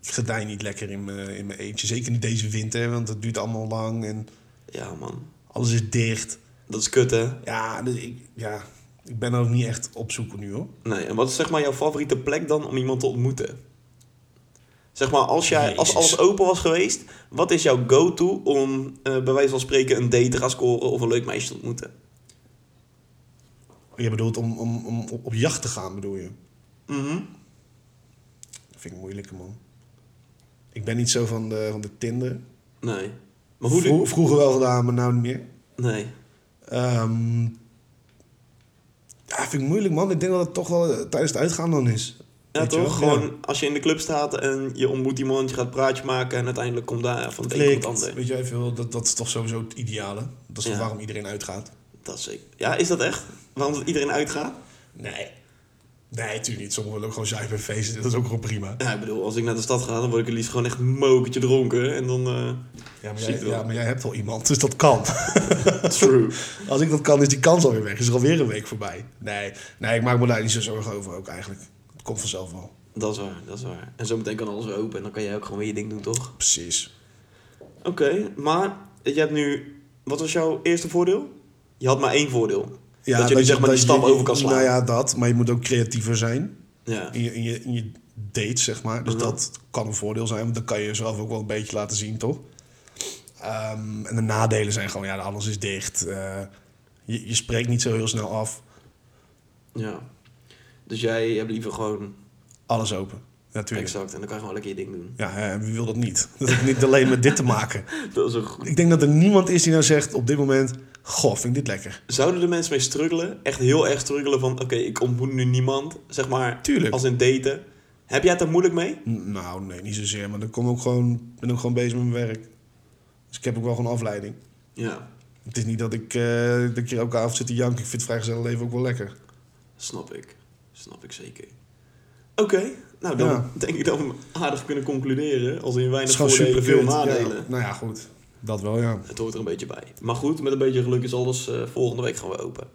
ik gedij niet lekker in mijn, in mijn eentje. Zeker niet deze winter, want het duurt allemaal lang en Ja, man. alles is dicht. Dat is kut, hè? Ja, dus ik, ja, ik ben er ook niet echt op zoek nu hoor. Nee. En wat is zeg maar jouw favoriete plek dan om iemand te ontmoeten? Zeg maar, als, jij, als Jezus. alles open was geweest, wat is jouw go-to om eh, bij wijze van spreken een date te gaan scoren of een leuk meisje te ontmoeten? Je bedoelt om, om, om op, op jacht te gaan, bedoel je? Mhm. Dat vind ik moeilijker, man. Ik ben niet zo van de, van de Tinder. Nee. Maar hoe... Vro- vroeger wel gedaan, maar nou niet meer. Nee. Ehm ja, vind ik moeilijk, man. Ik denk dat het toch wel eh, tijdens het uitgaan dan is. Ja, Weet je toch? wel? Gewoon als je in de club staat en je ontmoet iemand, je gaat praatje maken en uiteindelijk komt daar van het een komt Klikt, het ander. weet jij veel, dat, dat is toch sowieso het ideale. Dat is toch Ja. waarom iedereen uitgaat. Dat is zeker. Ja, is dat echt? Waarom dat iedereen uitgaat? Nee. Nee, natuurlijk niet. Sommigen willen ook gewoon zuipen en feesten. Dat is ook gewoon prima. Ja, ik bedoel, als ik naar de stad ga, dan word ik het liefst gewoon echt een mokertje dronken. En dan... eh, Ja, maar Ziek jij, wel. ja, maar jij hebt al iemand, dus dat kan. true. Als ik dat kan, is die kans alweer weg. Is er alweer een week voorbij. Nee, nee ik maak me daar niet zo zorgen over ook eigenlijk. Het komt vanzelf wel. dat is waar, dat is waar. En zometeen kan alles weer open en dan kan jij ook gewoon weer je ding doen, toch? Precies. Oké, maar je hebt nu... Wat was jouw eerste voordeel? Je had maar één voordeel. dat je nu zeg maar die dat stap je- over kan slaan. Nou ja, dat. Maar je moet ook creatiever zijn ja. in je, in je, in je date, zeg maar. Dus Mhm. dat kan een voordeel zijn. Want dan kan je jezelf ook wel een beetje laten zien, toch? Ehm, en de nadelen zijn gewoon, ja, alles is dicht. Eh, je, je spreekt niet zo heel snel af. ja. Dus jij hebt liever gewoon... Alles open. Natuurlijk. Exact, en dan kan je gewoon lekker je ding doen. Ja, hè, wie wil dat niet? Dat heeft niet alleen met dit te maken. Dat is een goed... Ik denk dat er niemand is die nou zegt op dit moment... Goh, vind ik dit lekker. Zouden de mensen mee struggelen? Echt heel erg struggelen van... Oké, ik ontmoet nu niemand. Zeg maar, Tuurlijk. als in daten. Heb jij het daar moeilijk mee? N- Nou, nee, niet zozeer. Maar dan kom ik ook gewoon, ben ook gewoon bezig met mijn werk. Dus ik heb ook wel gewoon afleiding. Ja, Het is niet dat ik, eh, dat ik hier elke avond zit te janken. Ik vind het vrijgezellig leven ook wel lekker. snap ik. Snap ik zeker. Oké, nou dan Ja. denk ik dat we aardig kunnen concluderen. Als in Het weinig voordelen, veel superkut. nadelen. Ja, nou ja, goed. Dat wel, ja. Het hoort er een beetje bij. Maar goed, met een beetje geluk is alles eh, volgende week gaan we open.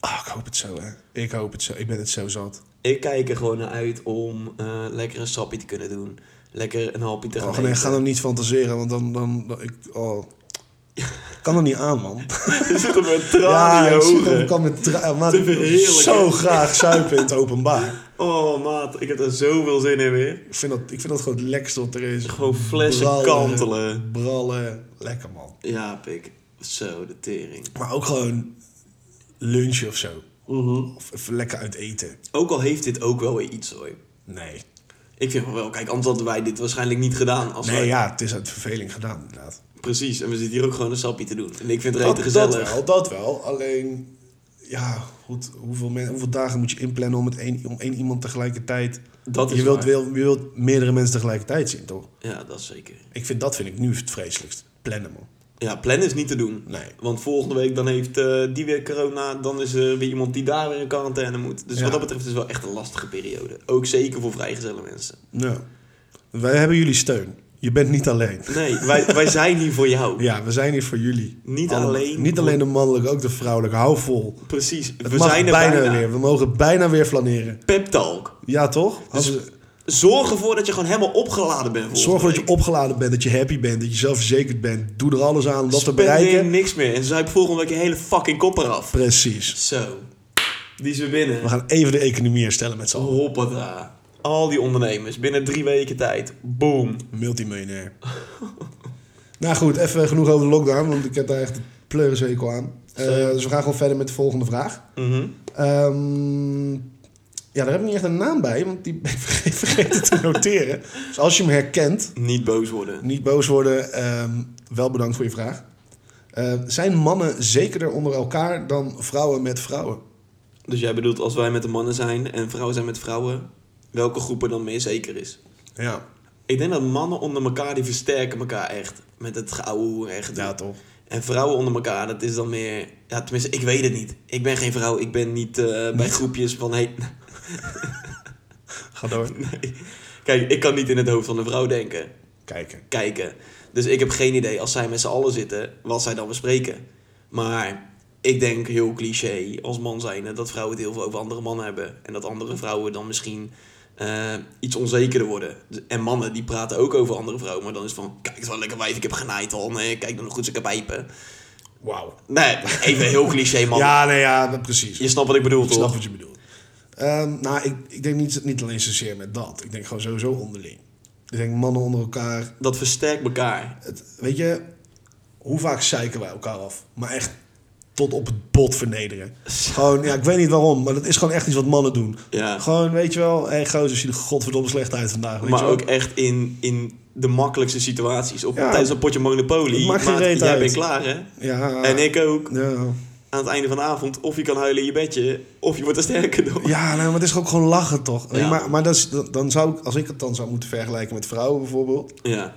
Ah, ik hoop het zo, hè. Ik hoop het zo. Ik ben het zo zat. Ik kijk er gewoon naar uit om eh, lekker een sappie te kunnen doen. Lekker een hapje te gaan Oh, nee, eten. ga dan niet fantaseren, want dan... dan, dan- ik, oh. Ik kan er niet aan, man. Je zit er met tranen Ja, in ik je zit ogen. ook al met tra- maar Te ik wil verheerlijken. zo graag zuipen in het openbaar. Oh maat, ik heb er zoveel zin in weer. Ik vind dat, ik vind dat gewoon het lekkerste wat er is. Gewoon flessen Brallen. kantelen. Brallen, lekker man. Ja, pik. Zo, de tering. Maar ook gewoon lunchen of zo. Mhm. Of even lekker uit eten. Ook al heeft dit ook wel weer iets hoor. Nee. Ik vind van wel, kijk, anders hadden wij dit waarschijnlijk niet gedaan. Als Nee, wij- ja, het is uit verveling gedaan inderdaad. Precies, en we zitten hier ook gewoon een sapje te doen. En ik vind het Dat, rete gezellig. dat wel, dat wel. Alleen, ja, goed, hoeveel, men, hoeveel dagen moet je inplannen om, het één om één iemand tegelijkertijd... Dat is je, wilt, waar. wil- je wilt meerdere mensen tegelijkertijd zien, toch? Ja, dat is zeker. Ik vind, dat vind ik nu het vreselijkst. Plannen, man. Ja, plannen is niet te doen. Nee. Want volgende week dan heeft eh, die weer corona. Dan is er weer iemand die daar weer in quarantaine moet. Dus Ja. wat dat betreft is het wel echt een lastige periode. Ook zeker voor vrijgezelle mensen. Ja. Wij hebben jullie steun. Je bent niet alleen. Nee, wij, wij zijn hier voor jou. Ja, we zijn hier voor jullie. Niet Allemaal. alleen. Niet alleen de mannelijke, ook de vrouwelijke. Hou vol. Precies. Het we mag zijn er bijna, bijna. weer. We mogen bijna weer flaneren. Pep talk. Ja, toch? Als Dus- we- Zorg ervoor dat je gewoon helemaal opgeladen bent. volgende zorg dat week. je opgeladen bent, dat je happy bent, dat je zelfverzekerd bent. Doe er alles aan om dat te Spendeer bereiken. niks meer. En zuip volgende week je hele fucking kop eraf. Precies. Zo. Die is weer binnen. We gaan even de economie herstellen met z'n allen. Hoppata. Al die ondernemers binnen drie weken tijd. Boom. Multimiljonair. nou goed, even genoeg over de lockdown, want ik heb daar echt een pleurishekel aan. Eh, Zo. dus we gaan gewoon verder met de volgende vraag. Mhm. Ehm, ja, daar heb ik niet echt een naam bij, want die ben ik vergeten te noteren. Dus als je hem herkent, Niet boos worden. niet boos worden. ehm, wel bedankt voor je vraag. Eh, zijn mannen zekerder onder elkaar dan vrouwen met vrouwen? Dus jij bedoelt als wij met de mannen zijn en vrouwen zijn met vrouwen, welke groep er dan meer zeker is? Ja, Ik denk dat mannen onder elkaar die versterken elkaar echt. Met het geouwe en gedoe. ja toch. En vrouwen onder elkaar, dat is dan meer. Ja, tenminste, ik weet het niet. Ik ben geen vrouw, ik ben niet eh, bij groepjes van. Hey, Ga door. nee. Kijk, ik kan niet in het hoofd van een vrouw denken. Kijken. kijken. Dus ik heb geen idee als zij met z'n allen zitten, wat zij dan bespreken. Maar ik denk heel cliché als man zijnde dat vrouwen het heel veel over andere mannen hebben. En dat andere vrouwen dan misschien eh, iets onzekerder worden. Dus- En mannen die praten ook over andere vrouwen, maar dan is het van: kijk, het is wel een lekker wijf, ik heb genaaid al. Nee, kijk dan hoe goed ze kan pijpen. Wauw. Nee, even heel cliché, man. Ja, nee, ja, dat- precies. Je snapt wat ik bedoel, Ik snap toch? wat je bedoelt. Ehm, nou, ik, ik denk niet, niet alleen zozeer met dat. Ik denk gewoon sowieso onderling. Ik denk mannen onder elkaar. Dat versterkt elkaar. Het, weet je, hoe vaak zeiken wij elkaar af? Maar echt tot op het bot vernederen. Gewoon, ja, ik weet niet waarom, maar dat is gewoon echt iets wat mannen doen. Ja. Gewoon, weet je wel, hé hey, gozer, zie er godverdomme slecht uit vandaag. Weet Maar je wel. ook echt in, in de makkelijkste situaties. Op, Ja. Tijdens een potje Monopoly. Het maakt geen maat, reet jij uit. bent klaar, hè? Ja, En ik ook. Ja, Aan het einde van de avond. Of je kan huilen in je bedje. Of je wordt er sterker door. ja nou, maar het is ook gewoon lachen, toch? Weet je, Ja. Maar, maar dat is, dan- dan zou ik, als ik het dan zou moeten vergelijken met vrouwen bijvoorbeeld... Ja.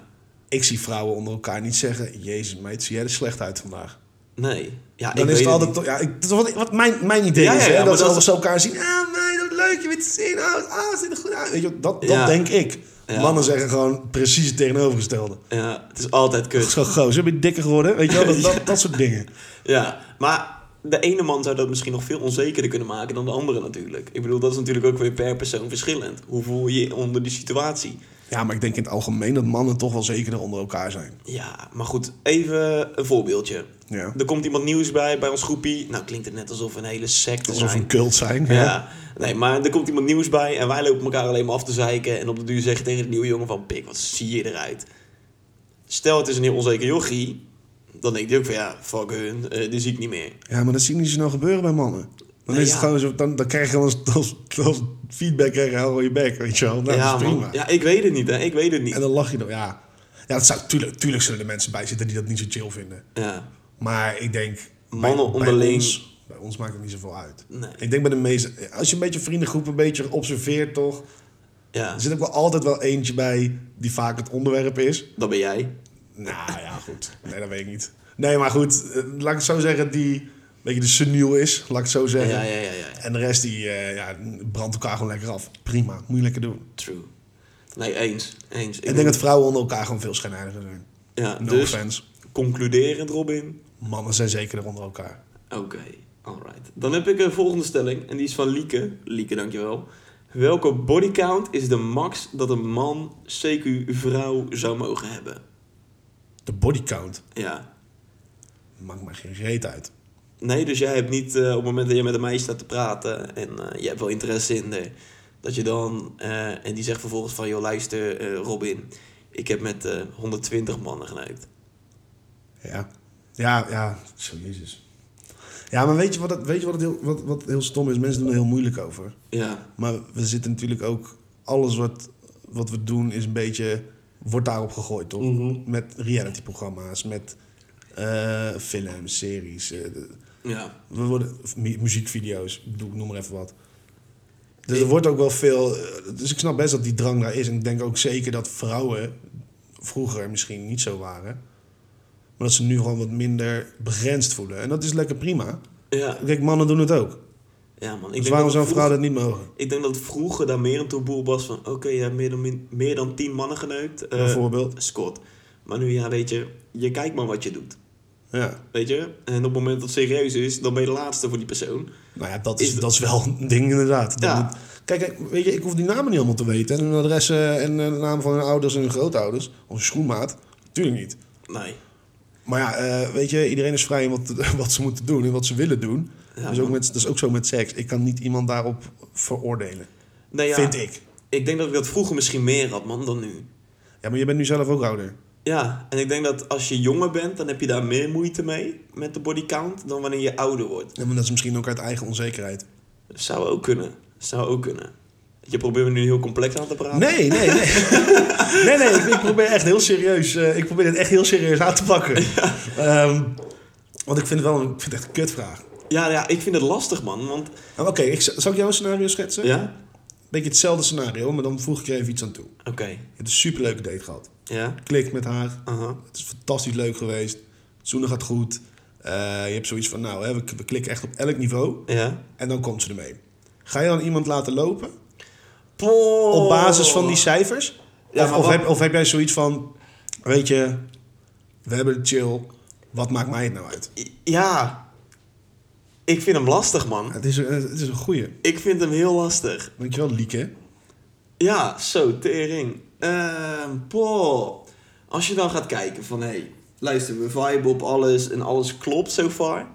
Ik zie vrouwen onder elkaar niet zeggen... Jezus, meid, zie jij er slecht uit vandaag. Nee. Ja, ik Dan is weet het altijd... niet. toch- Ja, ik, dat is wat, wat mijn, mijn idee Ja, is, ja, hè, ja, maar dat ze dat altijd is- zo elkaar zien... Ah, meid, wat leuk, je bent te zien. Ah, ah, ziet er goed uit. Weet je, wel, dat, dat Ja. denk ik. Ja. Mannen zeggen gewoon precies het tegenovergestelde. Ja, het is altijd kut. Zo gozer, ben je dikker geworden? Weet je wel, dat, dat, dat soort dingen. Ja, maar de ene man zou dat misschien nog veel onzekerder kunnen maken dan de andere natuurlijk. Ik bedoel, dat is natuurlijk ook weer per persoon verschillend. Hoe voel je je onder die situatie? Ja, maar ik denk in het algemeen dat mannen toch wel zekerder onder elkaar zijn. Ja, maar goed, even een voorbeeldje. Ja. Er komt iemand nieuws bij, bij ons groepie. Nou, klinkt het net alsof we een hele secte Alsof we zijn. een cult zijn. Ja. Ja. nee, maar er komt iemand nieuws bij en wij lopen elkaar alleen maar af te zeiken. En op de duur zeg je tegen de nieuwe jongen van, pik, wat zie je eruit? Stel, het is een heel onzeker jochie. Dan denkt hij ook van, ja, fuck hun, eh, die zie ik niet meer. Ja, maar dat zie ik niet zo snel gebeuren bij mannen. Dan, Nee, is het ja. gewoon zo, dan, dan krijg je wel eens als, als feedback krijg je hou je bek, weet je wel. Nou, ja, dat is prima. man. Ja, ik weet het niet, hè. Ik weet het niet. En dan lach je dan, ja. Ja, dat zou, tuurlijk, tuurlijk zullen er mensen bij zitten die dat niet zo chill vinden. Ja. Maar ik denk... bij- Mannen onderling- Bij ons, bij ons maakt het niet zoveel uit. Nee. Ik denk bij de meeste... Als je een beetje een vriendengroep een beetje observeert, toch? Ja, Er zit ook wel altijd wel eentje bij die vaak het onderwerp is. dat ben jij. Nou ja, goed. Nee, dat weet ik niet. Nee, maar goed, eh, laat ik het zo zeggen, die een beetje de seniel is, laat ik het zo zeggen. Ja, ja, ja, ja. En de rest, die eh, ja, brandt elkaar gewoon lekker af. Prima, moet je lekker doen. True. Nee, eens. Eens. Ik, denk dat vrouwen onder elkaar gewoon veel schijnheiliger zijn. Ja, No dus offense. concluderend, Robin. Mannen zijn zeker onder elkaar. Oké, alright. Dan heb ik een volgende stelling en die is van Lieke. Lieke, dankjewel. Welke bodycount is de max dat een man, CQ, vrouw zou mogen hebben? De bodycount Ja. maakt mij geen reet uit. Nee, dus jij hebt niet eh, op het moment dat je met een meisje staat te praten en eh, je hebt wel interesse in haar, dat je dan, eh, en die zegt vervolgens van, joh luister eh, Robin, ik heb met eh, 120 mannen geneukt. Ja. Ja, ja. Zo, jezus. Ja, maar weet je wat, het, weet je wat, het heel, wat, wat heel stom is? Mensen doen er heel moeilijk over. Ja, Maar we zitten natuurlijk ook... Alles wat, wat we doen is een beetje... Wordt daarop gegooid, toch? Met realityprogramma's, met eh, films, series. eh, de- ja. we worden, of mu- muziekvideo's, ik bedoel, ik noem maar even wat. Dus er Ik- wordt ook wel veel... eh, Dus ik snap best dat die drang daar is. En ik denk ook zeker dat vrouwen vroeger misschien niet zo waren. Maar dat ze nu gewoon wat minder begrensd voelen. En dat is lekker prima. Ja, Ik denk, mannen doen het ook. ja man. Ik dus denk waarom dat zou een het vrouw vroeger- dat niet mogen? Ik denk dat het vroeger daar meer een taboe op was van... Oké, je hebt meer dan, min- meer dan tien mannen geneukt. eh, Bijvoorbeeld. Scott. Maar nu, ja, weet je, je kijkt maar wat je doet. Ja. Weet je? En op het moment dat het serieus is, dan ben je de laatste voor die persoon. Nou ja, dat is, Is- dat is wel een ding inderdaad. Dat Ja. moet- kijk, kijk, weet je, ik hoef die namen niet allemaal te weten. En hun adressen en eh, de naam van hun ouders en hun grootouders. Of hun schoenmaat. Tuurlijk niet. Nee. Maar ja, eh, weet je, iedereen is vrij in wat, wat ze moeten doen en wat ze willen doen. Ja, dus ook man. met, dat is ook zo met seks. Ik kan niet iemand daarop veroordelen. Nee, ja, Vind ik. Ik denk dat ik dat vroeger misschien meer had, man, dan nu. Ja, maar je bent nu zelf ook ouder. Ja, en ik denk dat als je jonger bent, dan heb je daar meer moeite mee met de bodycount dan wanneer je ouder wordt. Ja, maar dat is misschien ook uit eigen onzekerheid. Zou ook kunnen. Zou ook kunnen. Je probeert me nu heel complex aan te praten. Nee, nee, nee. nee, nee, ik, ik probeer echt heel serieus. eh, ik probeer het echt heel serieus aan te pakken. Ehm, want ik vind het wel een, ik vind het echt een kutvraag. Ja, ja, ik vind het lastig, man. Want, Maar Oké, ik z- zal ik jou een scenario schetsen? ja? Beetje hetzelfde scenario, maar dan voeg ik er even iets aan toe. Oké. Je hebt een superleuke date gehad. Ja? Klik met haar, Aha. Het is fantastisch leuk geweest. Het zoenen gaat goed. Eh, je hebt zoiets van, nou, hè, we, we klikken echt op elk niveau. Ja. En dan komt ze ermee. Ga je dan iemand laten lopen Op op basis van die cijfers? Oh. Ja, of, maar of, wat- heb, of heb jij zoiets van, weet je, we hebben het chill. Wat maakt mij het nou uit? Ja. Ik vind hem lastig, man. Het is, een- het is een goeie. Ik vind hem heel lastig. Dankjewel, Lieke. Ja, zo, tering. Ehm, poh. Als je dan gaat kijken van... Hé, hey, luister, we viben op alles en alles klopt so far.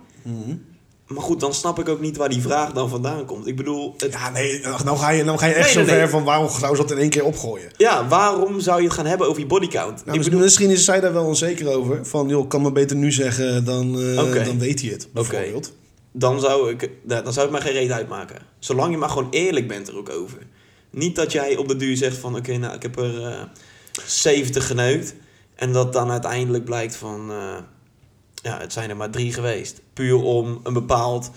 Maar goed, dan snap ik ook niet waar die vraag dan vandaan komt. Ik bedoel, het, Ja, nee, nou ga je, nou ga je echt Nee, zo nee, ver nee. van waarom zou ze dat in één keer opgooien? ja, waarom zou je het gaan hebben over je bodycount? Nou, misschien, misschien is zij daar wel onzeker over. Van, joh, kan me beter nu zeggen, dan, eh, Oké. dan weet hij het, bijvoorbeeld. dan zou, ik, nou, dan zou het mij geen reet uitmaken. Zolang je maar gewoon eerlijk bent er ook over. Niet dat jij op de duur zegt van... Oké, nou, ik heb er eh, 70 geneukt. En dat dan uiteindelijk blijkt van... eh, ja, het zijn er maar drie geweest. Puur om een bepaald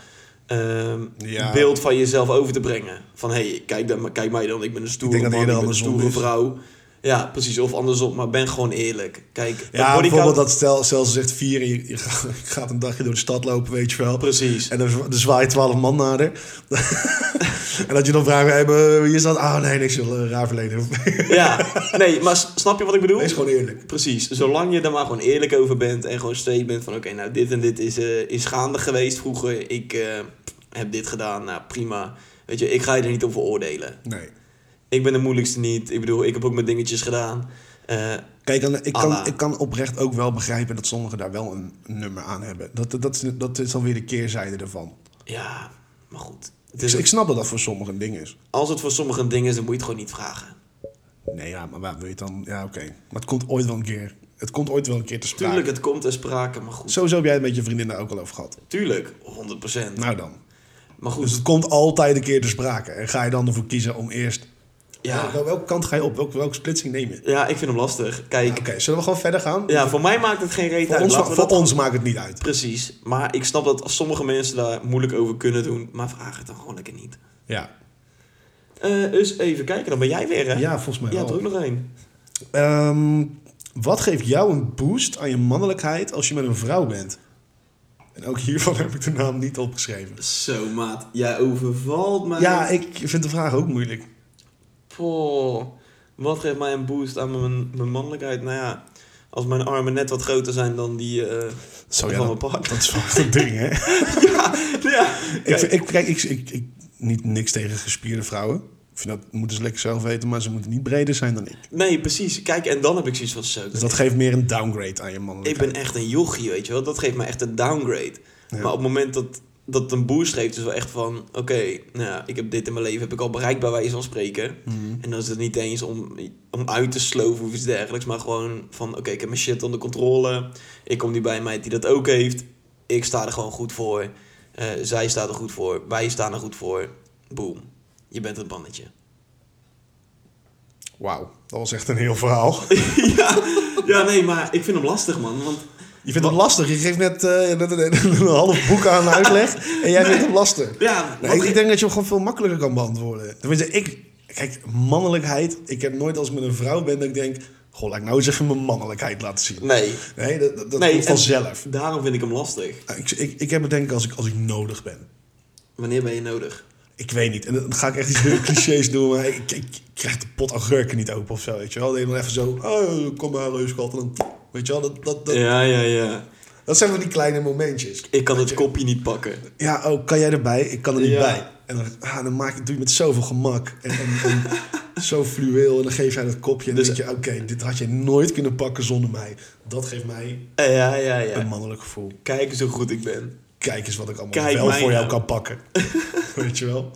ehm, Ja. beeld van jezelf over te brengen. Van, hé, hey, kijk, dan, kijk mij dan. Ik ben een stoere Ik denk man, dat ik eerder ben een andersom stoere is. vrouw. Ja, precies. Of andersom, maar ben gewoon eerlijk. Kijk, een Ja, bodycount- bijvoorbeeld dat stel, stel ze zegt vier en je, je gaat- je gaat een dagje door de stad lopen, weet je wel. Precies. En dan zwa- dan zwaai je twaalf man naar haar. en dat je dan vraagt, hey, maar wie is dat? Ah, nee, niks, joh, eh, raar verleden. Ja, nee, maar s- snap je wat ik bedoel? Wees gewoon eerlijk. Precies, zolang je er maar gewoon eerlijk over bent en gewoon straight bent van oké, nou dit en dit is, eh, is gaande geweest vroeger, ik eh, heb dit gedaan, nou prima. Weet je, ik ga je er niet over oordelen. Nee. Ik ben de moeilijkste niet, ik bedoel, ik heb ook mijn dingetjes gedaan. Eh, Kijk, en ik Allah. kan, ik kan oprecht ook wel begrijpen dat sommigen daar wel een nummer aan hebben. Dat, dat, is, dat is alweer de keerzijde ervan. ja, maar goed. Het Dus is, ik snap dat dat voor sommigen een ding is. als het voor sommigen een ding is, dan moet je het gewoon niet vragen. Nee, ja, maar waar wil je het dan? Ja, oké. Maar het komt ooit wel een keer. Het komt ooit wel een keer te sprake. Tuurlijk, het komt ter sprake, maar goed. Sowieso heb jij het met je vriendin daar ook al over gehad. Tuurlijk, 100%. Nou dan. Maar Dus goed, het komt altijd een keer te sprake. En ga je dan ervoor kiezen om eerst... ja, Wel- welke kant ga je op? Welke, welke splitsing neem je? ja ik vind hem lastig. Oké, Kijk, zullen we gewoon verder gaan? ja, voor mij maakt het geen reet voor uit. ons, Laten we voor dat ons maakt het niet uit. Precies, maar ik snap dat als sommige mensen daar moeilijk over kunnen doen, maar vraag het dan gewoon lekker niet. Ja, Eh dus even kijken, dan ben jij weer hè? ja volgens mij Jij wel. had er ook nog één. Ehm, wat geeft jou een boost aan je mannelijkheid als je met een vrouw bent? En ook hiervan heb ik de naam niet opgeschreven. Zo maat, jij overvalt mij. Ja, ik vind de vraag ook moeilijk. Poh, wat geeft mij een boost aan mijn, mijn mannelijkheid? Nou ja, als mijn armen net wat groter zijn dan die eh, Zo van ja, mijn dat, partner. dat is wel een ding, hè? ja, Ik, kijk, vind- ik, kijk, ik, ik, ik, niet niks tegen gespierde vrouwen. Ik vind dat moeten ze lekker zelf weten, maar ze moeten niet breder zijn dan ik. Nee, precies. Kijk, en dan heb ik zoiets van zo. Dus dat geeft meer een downgrade aan je Ik mannelijkheid. ben echt een jochie, weet je wel. Dat geeft mij echt een downgrade. Ja. Maar op het moment dat dat het een boost geeft, is wel echt van... Oké, nou ja, ik heb dit in mijn leven, heb ik al bereikt bij wijze van spreken. Mhm. En dan is het niet eens om, om uit te sloven of iets dergelijks. Maar gewoon van, oké, ik heb mijn shit onder controle. Ik kom nu bij een meid die dat ook heeft. Ik sta er gewoon goed voor. Eh, zij staat er goed voor. Wij staan er goed voor. Boom. Je bent het mannetje. Wauw, dat was echt een heel verhaal. ja, ja, nee, maar ik vind hem lastig, man. Want Je vindt het lastig. Je geeft net, eh, net een, een half boek aan uitleg. En jij vindt het lastig. ja, Nee, wat ik, ge- ik denk dat je hem gewoon veel makkelijker kan beantwoorden. Tenminste, ik... Kijk, mannelijkheid. Ik heb nooit als ik met een vrouw ben dat ik denk... Goh, laat ik nou eens even mijn mannelijkheid laten zien. nee, Nee, dat, dat, dat Nee, komt en- vanzelf. Nou, daarom vind ik hem lastig. Ik, ik, ik heb het denk ik als ik, als ik nodig ben. Wanneer ben je nodig? Ik weet niet. En dan ga ik echt iets heel clichés doen. Maar ik, ik, ik krijg de pot augurken niet open of zo, weet je wel. Dan even zo... Oh, kom maar, leuskant. En dan... Weet je wel, dat, dat, dat, Ja, ja, ja. dat zijn van die kleine momentjes. Ik kan het kopje niet pakken. Ja, oh, kan jij erbij? Ik kan er niet Ja. bij. En dan, ah, dan maak ik, doe je met zoveel gemak en, en, en zo fluweel. En dan geef jij dat kopje en dan Dus- denk je... Oké, dit had je nooit kunnen pakken zonder mij. Dat geeft mij Eh, Ja, ja, een ja. mannelijk gevoel. Kijk eens hoe goed ik ben. Kijk eens wat ik allemaal Kijk wel mij voor jou nou. kan pakken. weet je wel?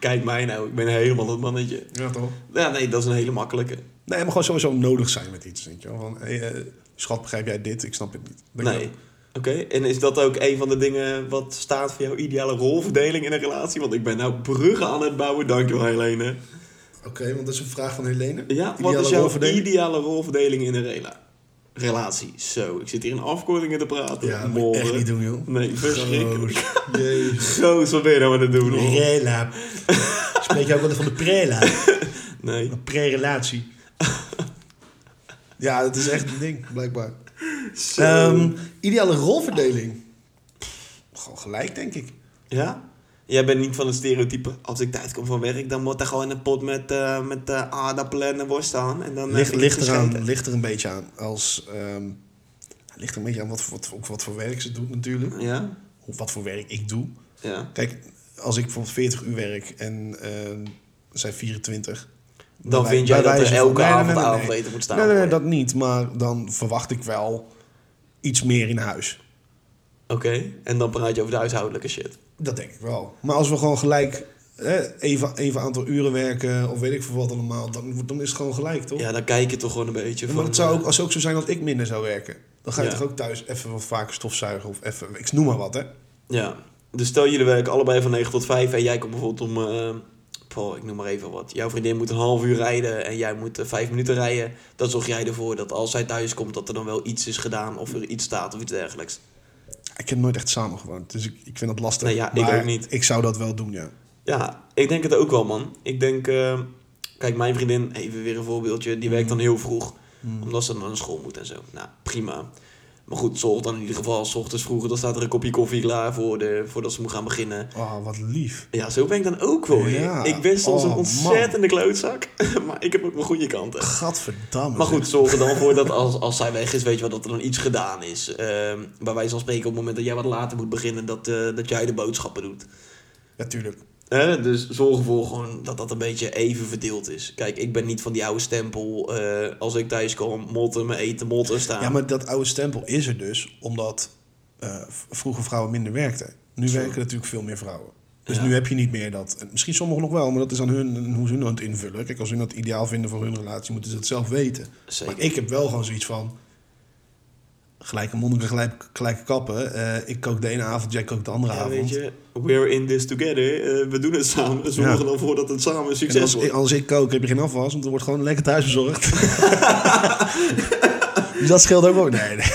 Kijk mij nou, ik ben helemaal het mannetje. Ja, toch? Ja, nee, dat is een hele makkelijke. Nee, maar gewoon sowieso nodig zijn met iets. Denk je wel. Van, hey, eh, schat, begrijp jij dit? Ik snap het niet. Denk Nee. je Oké, en is dat ook een van de dingen wat staat voor jouw ideale rolverdeling in een relatie? Want ik ben nou bruggen aan het bouwen, dankjewel Helene. wel. oh, Oké, want dat is een vraag van Helene. Ja, wat Ideale is jouw rolverdeling? ideale rolverdeling in een rela relatie? Zo, ik zit hier in afkortingen te praten. Ja, dat moet je echt niet doen, joh. Nee, verschrikkelijk. Goos. Jezus. Goos, wat ben je nou aan het doen? hoor? Prela. Spreek je ook altijd van de prela? Nee. Een pre-relatie. Ja, dat is echt een ding, blijkbaar. Zo. Ehm, ideale rolverdeling. Gewoon gelijk, denk ik. Ja? Jij bent niet van het stereotype. Als ik tijd kom van werk, dan moet er gewoon een pot met, eh, met eh, aardappelen en een worst aan. En dan eh, Ligt, vind ik ligt, het eraan, gescheten. ligt er een beetje aan. Als, ehm, ligt er een beetje aan wat, voor- wat, ook wat voor werk ze doet, natuurlijk. Ja? Of wat voor werk ik doe. Ja. Kijk, als ik bijvoorbeeld 40 uur werk en ehm, zij 24. Dan bij- vind jij bij dat er wijze van- elke Nee, nee, nee, avond nee, nee. avondeten moet staan. Nee, nee, nee, dat niet. Maar dan verwacht ik wel iets meer in huis. Oké, en dan praat je over de huishoudelijke shit. Dat denk ik wel. Maar als we gewoon gelijk hè, even, even aantal uren werken of weet ik veel wat allemaal, dan, dan is het gewoon gelijk, toch? Ja, dan kijk je toch gewoon een Ja, beetje van... maar het zou eh, ook, als het ook zo zijn dat ik minder zou werken, dan ga je Ja. toch ook thuis even wat vaker stofzuigen of even, ik noem maar wat, hè? Ja, dus stel jullie werken allebei van 9 tot 5 en jij komt bijvoorbeeld om, eh, Paul, ik noem maar even wat. Jouw vriendin moet een half uur rijden en jij moet eh, vijf minuten rijden. Dan zorg jij ervoor dat als zij thuis komt, dat er dan wel iets is gedaan of er iets staat of iets dergelijks. Ik heb nooit echt samen gewoond, dus ik, ik vind dat lastig. Nee, ja, ik Maar ook niet. Ik zou dat wel doen, ja. Ja, ik denk het ook wel, man. Ik denk, eh, kijk, mijn vriendin, even weer een voorbeeldje, die werkt dan heel vroeg. Omdat ze dan naar school moet en zo. Nou, prima. Maar goed, zorg dan in ieder geval, s ochtends vroeger, dan staat er een kopje koffie klaar voor de, voordat ze moet gaan beginnen. Oh, wat lief. Ja, zo ben ik dan ook wel. weer. Ja. Ik ben soms Oh, een ontzettende klootzak, maar ik heb ook mijn goede kanten. Gadverdamme. Maar zeg. goed, zorg er dan voor dat als, als zij weg is, weet je wel, dat er dan iets gedaan is. Ehm bij wijze van spreken, op het moment dat jij wat later moet beginnen, dat, eh, dat jij de boodschappen doet. Ja, tuurlijk. Hè, dus zorg ervoor gewoon dat dat een beetje even verdeeld is. Kijk, ik ben niet van die oude stempel. eh, als ik thuis kom, motten, me eten, motten staan. Ja, maar dat oude stempel is er dus omdat eh, v- vroeger vrouwen minder werkten. Nu Zo. werken natuurlijk veel meer vrouwen. Dus Ja. nu heb je niet meer dat. en Misschien sommigen nog wel, maar dat is aan hun en hoe ze hun aan het invullen. Kijk, als hun dat ideaal vinden voor hun relatie, moeten ze dat zelf weten. Zeker. Maar ik heb wel gewoon zoiets van. Gelijke monniken, gelijk, gelijke kappen. Eh, ik kook de ene avond, jij kookt de andere Ja, avond. weet je, we're in this together. Eh, we doen het samen. Zorg er Ja. dan voor dat het samen een En succes als, wordt. ik- als ik kook, heb je geen afwas, want er wordt gewoon lekker thuis bezorgd. dus dat scheelt ook ook. Nee, nee.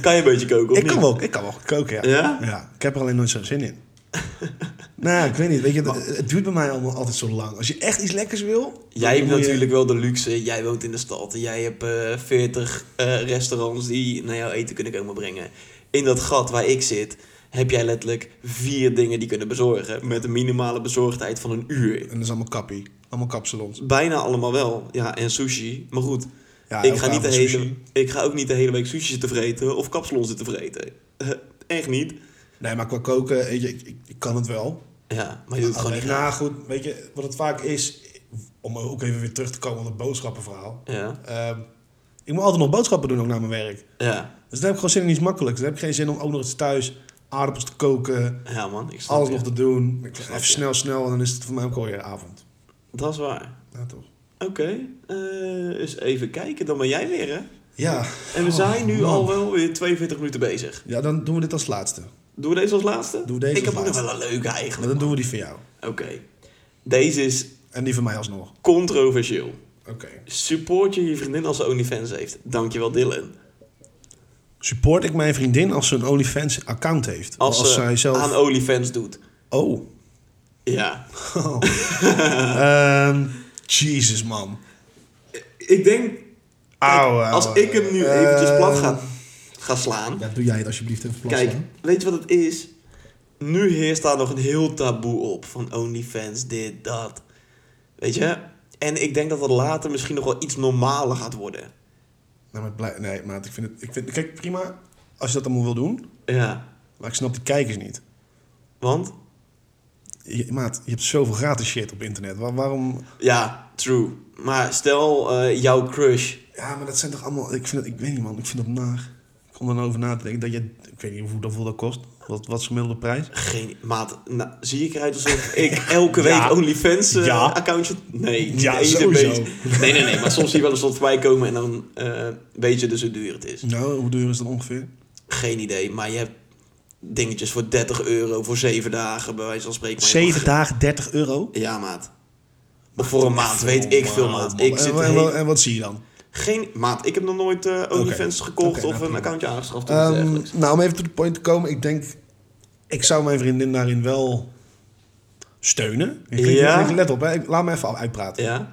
Kan je een beetje koken? of Ik kan niet? wel, ik kan wel goed koken, ja. Ja? ik heb er alleen nooit zo'n zin in. nou, ik weet niet. Weet je, het, het duurt bij mij allemaal altijd zo lang. Als je echt iets lekkers wil... dan Jij hebt moet je- natuurlijk wel de luxe. Jij woont in de stad. en Jij hebt eh 40 eh, restaurants die naar jou eten kunnen komen brengen. In dat gat waar ik zit, heb jij letterlijk vier dingen die kunnen bezorgen. Met een minimale bezorgdheid van een uur. En dat is allemaal kappie. Allemaal kapsalons. Bijna allemaal wel. Ja, en sushi. Maar goed, Ja, ik, elke ga niet de avond hele, sushi. ik ga ook niet de hele week sushi zitten vreten of kapsalons zitten vreten. echt niet. Nee, maar qua koken, weet je, ik, ik, ik kan het wel. Ja, maar je doet het gewoon Alleen, niet graag. nou, goed, weet je, wat het vaak is... Om ook even weer terug te komen op het boodschappenverhaal. Ja, Ehm, ik moet altijd nog boodschappen doen, ook naar mijn werk. ja. Dus dan heb ik gewoon zin in iets makkelijks. Dan heb ik geen zin om ook nog eens thuis aardappels te koken... ja man. Ik snap Alles je. nog te doen. Ik Snap even je. snel, snel en dan is het voor mij ook alweer avond. Dat is waar. Nou toch. Oké, eh eens even kijken. Dan ben jij weer, hè? Ja. En we Oh, zijn nu man. al wel weer 42 minuten bezig. Ja, dan doen we dit als laatste. Doen we deze als laatste? Doe deze Ik als heb ook nog laatste. wel een leuke Maar eigenlijk. dan doen we die van jou. Oké. Deze is En die van mij alsnog. controversieel. Oké. Support je je vriendin als ze OnlyFans heeft. Dankjewel Dylan. Support ik mijn vriendin als ze een OnlyFans account heeft? Als, Als, ze zij zelf... aan OnlyFans doet. Oh. Ja. Ehm, Jezus, man. Ik denk, Auw, auw, als auw. ik hem nu Eh, eventjes plat ga, ga slaan. Ja, doe jij het alsjeblieft even plat Kijk, slaan. weet je wat het is? Nu heerst daar nog een heel taboe op. Van OnlyFans, dit, dat. Weet je? En ik denk dat dat later misschien nog wel iets normaler gaat worden. Nee, Nou, maar blij... nee, maat, ik vind het... Ik vind... Kijk, prima als je dat allemaal wil doen. Ja, Maar ik snap de kijkers niet. want? Je, maat, je hebt zoveel gratis shit op internet. Waar- waarom... Ja, true. Maar stel eh, jouw crush. Ja, maar dat zijn toch allemaal... Ik, vind dat, ik weet niet, man. Ik vind dat naar. Ik kom er nou over na te denken. Dat je, ik weet niet hoeveel dat, hoeveel dat kost. Wat, wat is de gemiddelde prijs? Geen maat. Nou, zie ik eruit alsof ik elke week Ja. OnlyFans eh, Ja. accountje. Nee, niet Ja, eens een sowieso. beetje. Nee, nee, nee. Maar soms zie je wel eens wat voorbij komen en dan eh, weet je dus hoe duur het is. Nou, hoe duur is dat ongeveer? Geen idee. Maar je hebt dingetjes voor 30 euro voor 7 dagen, bij wijze van spreken. Maar je Zeven dagen 30 euro? Oh, mag- Ja, maat. Of voor een maand, weet ik veel, maat. Ik zit en, en- heel- en wat zie je dan? Geen maat. Ik heb nog nooit eh, OnlyFans gekocht Oké, of nou, een prima. accountje aangeschaft. of iets Ehm, dergelijks. nou, om even tot de point te komen. Ik denk, ik zou mijn vriendin daarin wel steunen. Ik klink- Ja? ik- Let op, hè. Ik- laat me even uitpraten. Ja.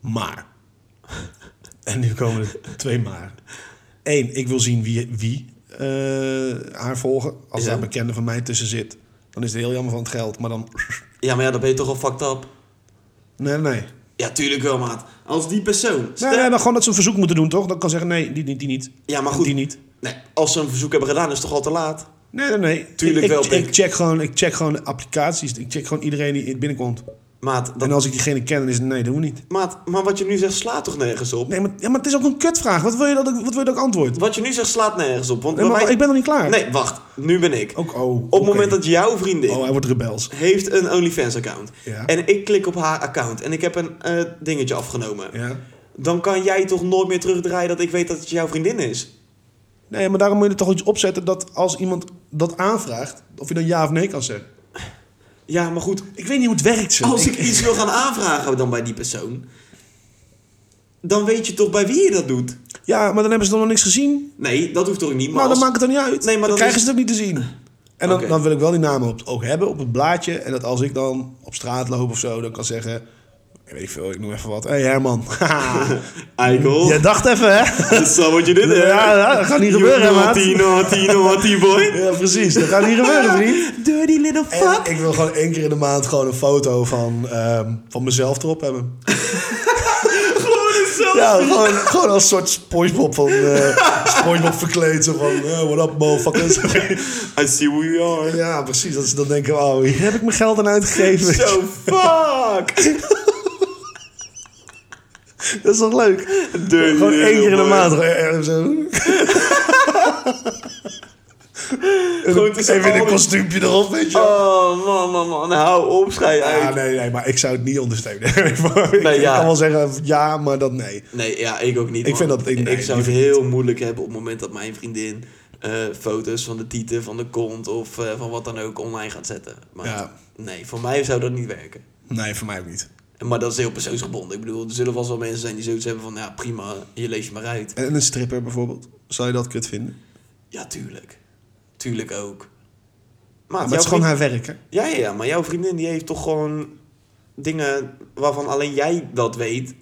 Maar. En nu komen er twee maar. Eén, ik wil zien wie, wie eh, haar volgen. Als Ja. daar bekende van mij tussen zit, dan is het heel jammer van het geld. Maar dan. ja, maar ja, dan ben je toch al fucked up. Nee, nee. Ja, tuurlijk wel, maat. Als die persoon... stel- Nee, nee, dan gewoon dat ze een verzoek moeten doen, toch? Dan kan zeggen: nee, die niet, die niet. Ja, maar En goed. Die niet. Nee, als ze een verzoek hebben gedaan, is het toch al te laat? Nee, nee, nee. Tuurlijk ik, wel, Ik, Pik. ik check gewoon, ik check gewoon de applicaties. Ik check gewoon iedereen die binnenkomt. Maat, dat, En als ik diegene ken, dan is het nee, doen we niet. maat, maar wat je nu zegt slaat toch nergens op? Nee, maar, ja, maar het is ook een kutvraag. Wat wil je dat ik, wat wil je dat ik antwoord? Wat je nu zegt slaat nergens op. Want Nee, bij maar mij- ik ben nog niet klaar. nee wacht. Nu ben ik. Ook, oh, Op het moment dat jouw vriendin Oh, hij wordt rebels. heeft een OnlyFans-account. Ja. En ik klik op haar account en ik heb een eh, dingetje afgenomen. Ja. Dan kan jij toch nooit meer terugdraaien dat ik weet dat het jouw vriendin is? Nee, maar daarom moet je er toch iets opzetten dat als iemand dat aanvraagt, of je dan ja of nee kan zeggen. Ja, maar goed. Ik weet niet hoe het werkt, zo. Als ik iets wil gaan aanvragen dan bij die persoon... dan weet je toch bij wie je dat doet? Ja, maar dan hebben ze dan nog niks gezien. Nee, dat hoeft toch niet? Maar nou, dan als- maakt het dan niet uit. Nee, maar dan dan krijgen is- ze het ook niet te zien. En dan, Oké. dan wil ik wel die namen op, ook hebben op het blaadje. En dat als ik dan op straat loop of zo, dan kan zeggen... ik Weet ik veel, ik noem even wat. Hé hey Herman. Eikel, Jij dacht even, hè? dat is zo wat je dit... hè? Ja, ja, dat gaat niet You gebeuren, maat. naughty, naughty, naughty boy. Ja, precies. Dat gaat niet Eh, gebeuren, vriend. Dirty little fuck. En ik wil gewoon één keer in de maand gewoon een foto van, ehm, van mezelf erop hebben. Gewoon een selfie. Ja, gewoon, gewoon als soort Spongebob van... eh Spongebob verkleed. Zo van, eh, what up, motherfuckers. eh. I see who you are. ja, precies. Dat ze dan denken, oh, hier heb ik mijn geld aan uitgegeven. Zo, fuck. Dat is toch leuk? Dirty Gewoon één little keer in de boy. maand. gewoon, eh, eh, Zo. En Gewoon dan tussen even in al een die- kostuumpje erop, weet je wel. Oh, man, man, man. Hou op, schei uit. Ja, nee, nee, maar ik zou het niet ondersteunen. ik Nee, ja. kan wel zeggen ja, maar dat nee. Nee, ja, ik ook niet. Ik man. vind dat- ik- ik, nee, zou die het heel moeilijk hebben op het moment dat mijn vriendin eh, foto's van de tieten, van de kont of eh, van wat dan ook online gaat zetten. Maar Ja. nee, voor mij zou dat niet werken. Nee, voor mij ook niet. En- Maar dat is heel persoonsgebonden. Ik bedoel, er zullen vast wel mensen zijn die zoiets hebben van, ja prima, je lees je maar uit. En een stripper bijvoorbeeld. Zou je dat kut vinden? Ja, tuurlijk. Tuurlijk ook. Maar Maar, het is gewoon haar werk, hè? ja, ja, ja, maar jouw vriendin die heeft toch gewoon dingen waarvan alleen jij dat weet.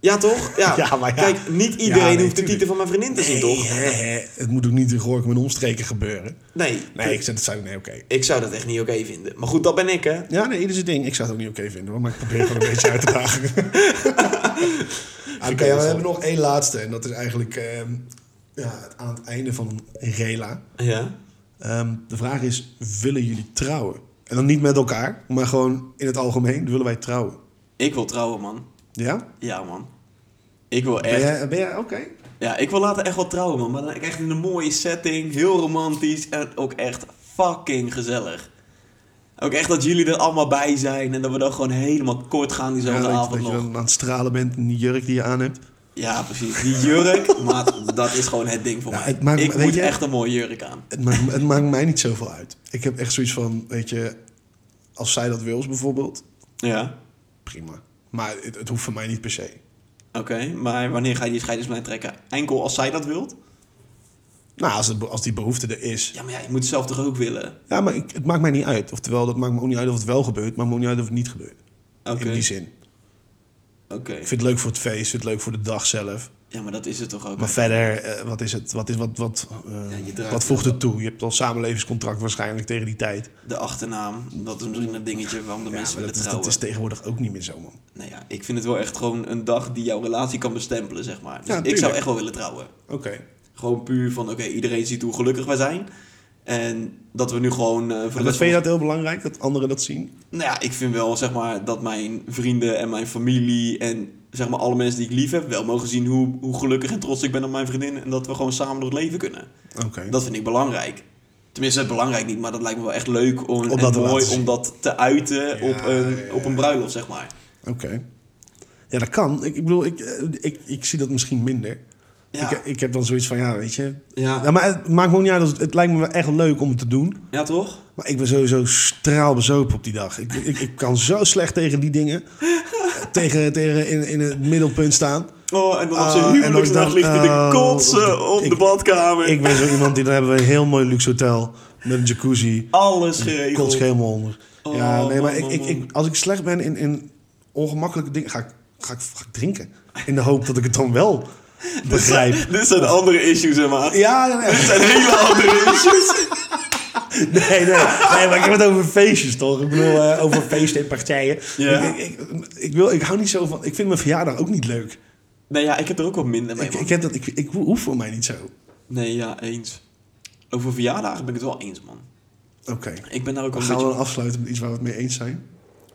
Ja, toch? Ja, Ja, maar ja. Kijk, niet iedereen nee, hoeft de tuurlijk. tieten van mijn vriendin te zien, toch? hè, hè. het moet ook niet in Gorkum en omstreken gebeuren. Nee, Nee, ik zet het zou nee, oké. Ik zou dat echt niet oké vinden. Maar goed, dat ben ik, hè? Ja, nee, ieder zijn ding. Ik zou het ook niet oké vinden, hoor, maar ik probeer gewoon een beetje uit te dagen. oké, ja, we hebben nog één laatste. En dat is eigenlijk ehm, ja, aan het einde van Rela. Ja. Ehm, de vraag is, willen jullie trouwen? En dan niet met elkaar, maar gewoon in het algemeen. Willen wij trouwen? Ik wil trouwen, man. Ja? Ja, man. Ik wil Ben echt... jij, ben jij oké? Ja, ik wil later echt wel trouwen, man. Maar dan echt in een mooie setting. Heel romantisch. En ook echt fucking gezellig. Ook echt dat jullie er allemaal bij zijn. En dat we dan gewoon helemaal kort gaan diezelfde Ja, dat, avond dat je nog. dan aan het stralen bent in die jurk die je aan hebt. Ja, precies. Die jurk, maar dat is gewoon het ding voor Ja, mij. het maakt- ik weet moet je- echt een mooie jurk aan. Het maakt, het maakt mij niet zoveel uit. Ik heb echt zoiets van, weet je, als zij dat wil bijvoorbeeld, Ja. prima. Maar het, het hoeft voor mij niet per se. Oké, maar wanneer ga je die scheidingslijn trekken? Enkel als zij dat wilt? Nou, als, het, als die behoefte er is. Ja, maar ja, je moet het zelf toch ook willen? Ja, maar ik- het maakt mij niet uit. Oftewel, dat maakt me ook niet uit of het wel gebeurt, maar me ook niet uit of het niet gebeurt. Oké. In die zin. Oké. Ik vind het leuk voor het feest, vind het leuk voor de dag zelf. Ja, maar dat is het toch ook. Maar verder, eh, wat is het? Wat, is, wat, wat, eh, Ja, je draait- wat voegt het toe? Je hebt al samenlevingscontract waarschijnlijk tegen die tijd. De achternaam, dat is misschien een dingetje waarom de Ja, maar mensen willen dat, is, trouwen. dat is tegenwoordig ook niet meer zo, man. Nou ja, ik vind het wel echt gewoon een dag die jouw relatie kan bestempelen, zeg maar. Dus Ja, ik tuurlijk. zou echt wel willen trouwen. Oké. Gewoon puur van, oké, iedereen ziet hoe gelukkig wij zijn. En dat we nu gewoon... eh, voor de En rest dat, vind je van- dat heel belangrijk, dat anderen dat zien? Nou ja, ik vind wel, zeg maar, dat mijn vrienden en mijn familie en zeg maar alle mensen die ik lief heb... wel mogen zien hoe, hoe gelukkig en trots ik ben op mijn vriendin. En dat we gewoon samen door het leven kunnen. Oké. Dat vind ik belangrijk. Tenminste, belangrijk niet, maar dat lijkt me wel echt leuk om, Om en dat te mooi laten zien. om dat te uiten Ja, op, een, ja, op een bruiloft, zeg maar. Oké. Ja, dat kan. Ik, ik bedoel, ik, eh, ik, ik zie dat misschien minder. Ja, Ik, ik heb dan zoiets van, ja, weet je. ja. Ja, maar het maakt me ook niet uit. als Het, het lijkt me wel echt leuk om het te doen. ja toch? Maar ik ben sowieso straalbezopen op die dag. Ik, ik, ik kan zo slecht tegen die dingen. Eh, tegen tegen in, in het middelpunt staan. Oh, en dan op Ah, zijn en huwelijksnacht dan- ligt hij oh, de kotsen op op de- de, ik- badkamer. Ik ben zo iemand die, dan hebben we een heel mooi luxe hotel. Met een jacuzzi. Alles Kots geregeld. helemaal onder. Oh, ja, nee, maar man, ik, man, ik, ik, als ik slecht ben in, in ongemakkelijke dingen, ga ik, ga, ik, ga ik drinken. In de hoop dat ik het dan wel begrijp. Dit zijn andere issues, hè, maat. Ja, nee, nee. Dit zijn hele andere issues. Nee, nee, nee, maar ik heb het over feestjes toch? Ik bedoel, eh, over feesten en partijen. Ja. Ik, ik, ik, wil, ik hou niet zo van. Ik vind mijn verjaardag ook niet leuk. Nee, ja, ik heb er ook wat minder mee, Ik, man. ik, heb dat, ik, ik hoef voor mij niet zo. Nee, ja, eens. Over verjaardagen ben ik het wel eens, man. Oké. Ik ben daar ook wel Dan gaan een we beetje... dan afsluiten met iets waar we het mee eens zijn.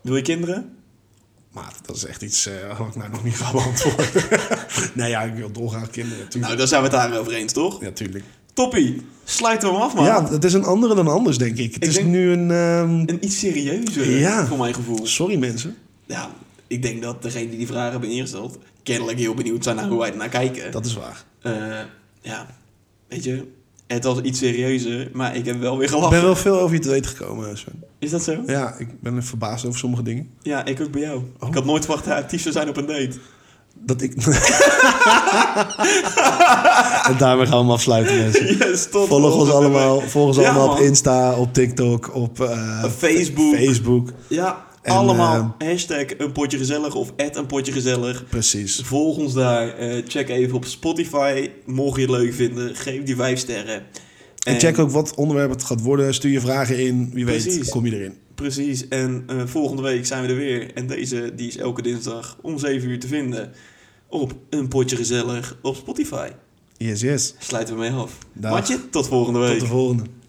Wil je kinderen? Maat, dat is echt iets eh wat ik nou nog niet ga beantwoorden. nee, ja, ik wil dolgraag kinderen, tuurlijk. Nou, daar zijn we het daarover eens, toch? ja, tuurlijk. Toppie, sluiten we hem af, man. Ja, het is een andere dan anders, denk ik. Het Ik is denk- nu een... ehm, Een iets serieuzer, Ja. voor mijn gevoel. Sorry, mensen. Ja, ik denk dat degene die die vragen hebben ingesteld... kennelijk heel benieuwd zijn naar hoe wij er naar kijken. Dat is waar. Eh, ja, weet je... Het was iets serieuzer, maar ik heb wel weer Ik gelachen. ben wel veel over je te weten gekomen, eh, Sven. Is dat zo? Ja, ik ben verbaasd over sommige dingen. Ja, ik ook bij jou. Oh. Ik had nooit verwacht dat hij actief zou zijn op een date. Dat ik... en daarmee gaan we hem afsluiten, mensen. Yes, tot Volg ons volgende allemaal, volg ons Ja, allemaal op man. Insta, op TikTok, op eh, week. Facebook. Facebook. Ja, En, eh, allemaal hashtag een potje gezellig of at een potje gezellig. Precies. Volg ons daar. Eh, check even op Spotify. Mocht je het leuk vinden, geef die vijf sterren. En, check ook wat onderwerp het gaat worden. Stuur je vragen in. Wie weet Precies. kom je erin. Precies. En eh, volgende week zijn we er weer. En deze die is elke dinsdag om 7 uur te vinden. Op een potje gezellig op Spotify. Yes, yes. Sluiten we mee af. Dag. Matje, tot volgende week. Tot de volgende.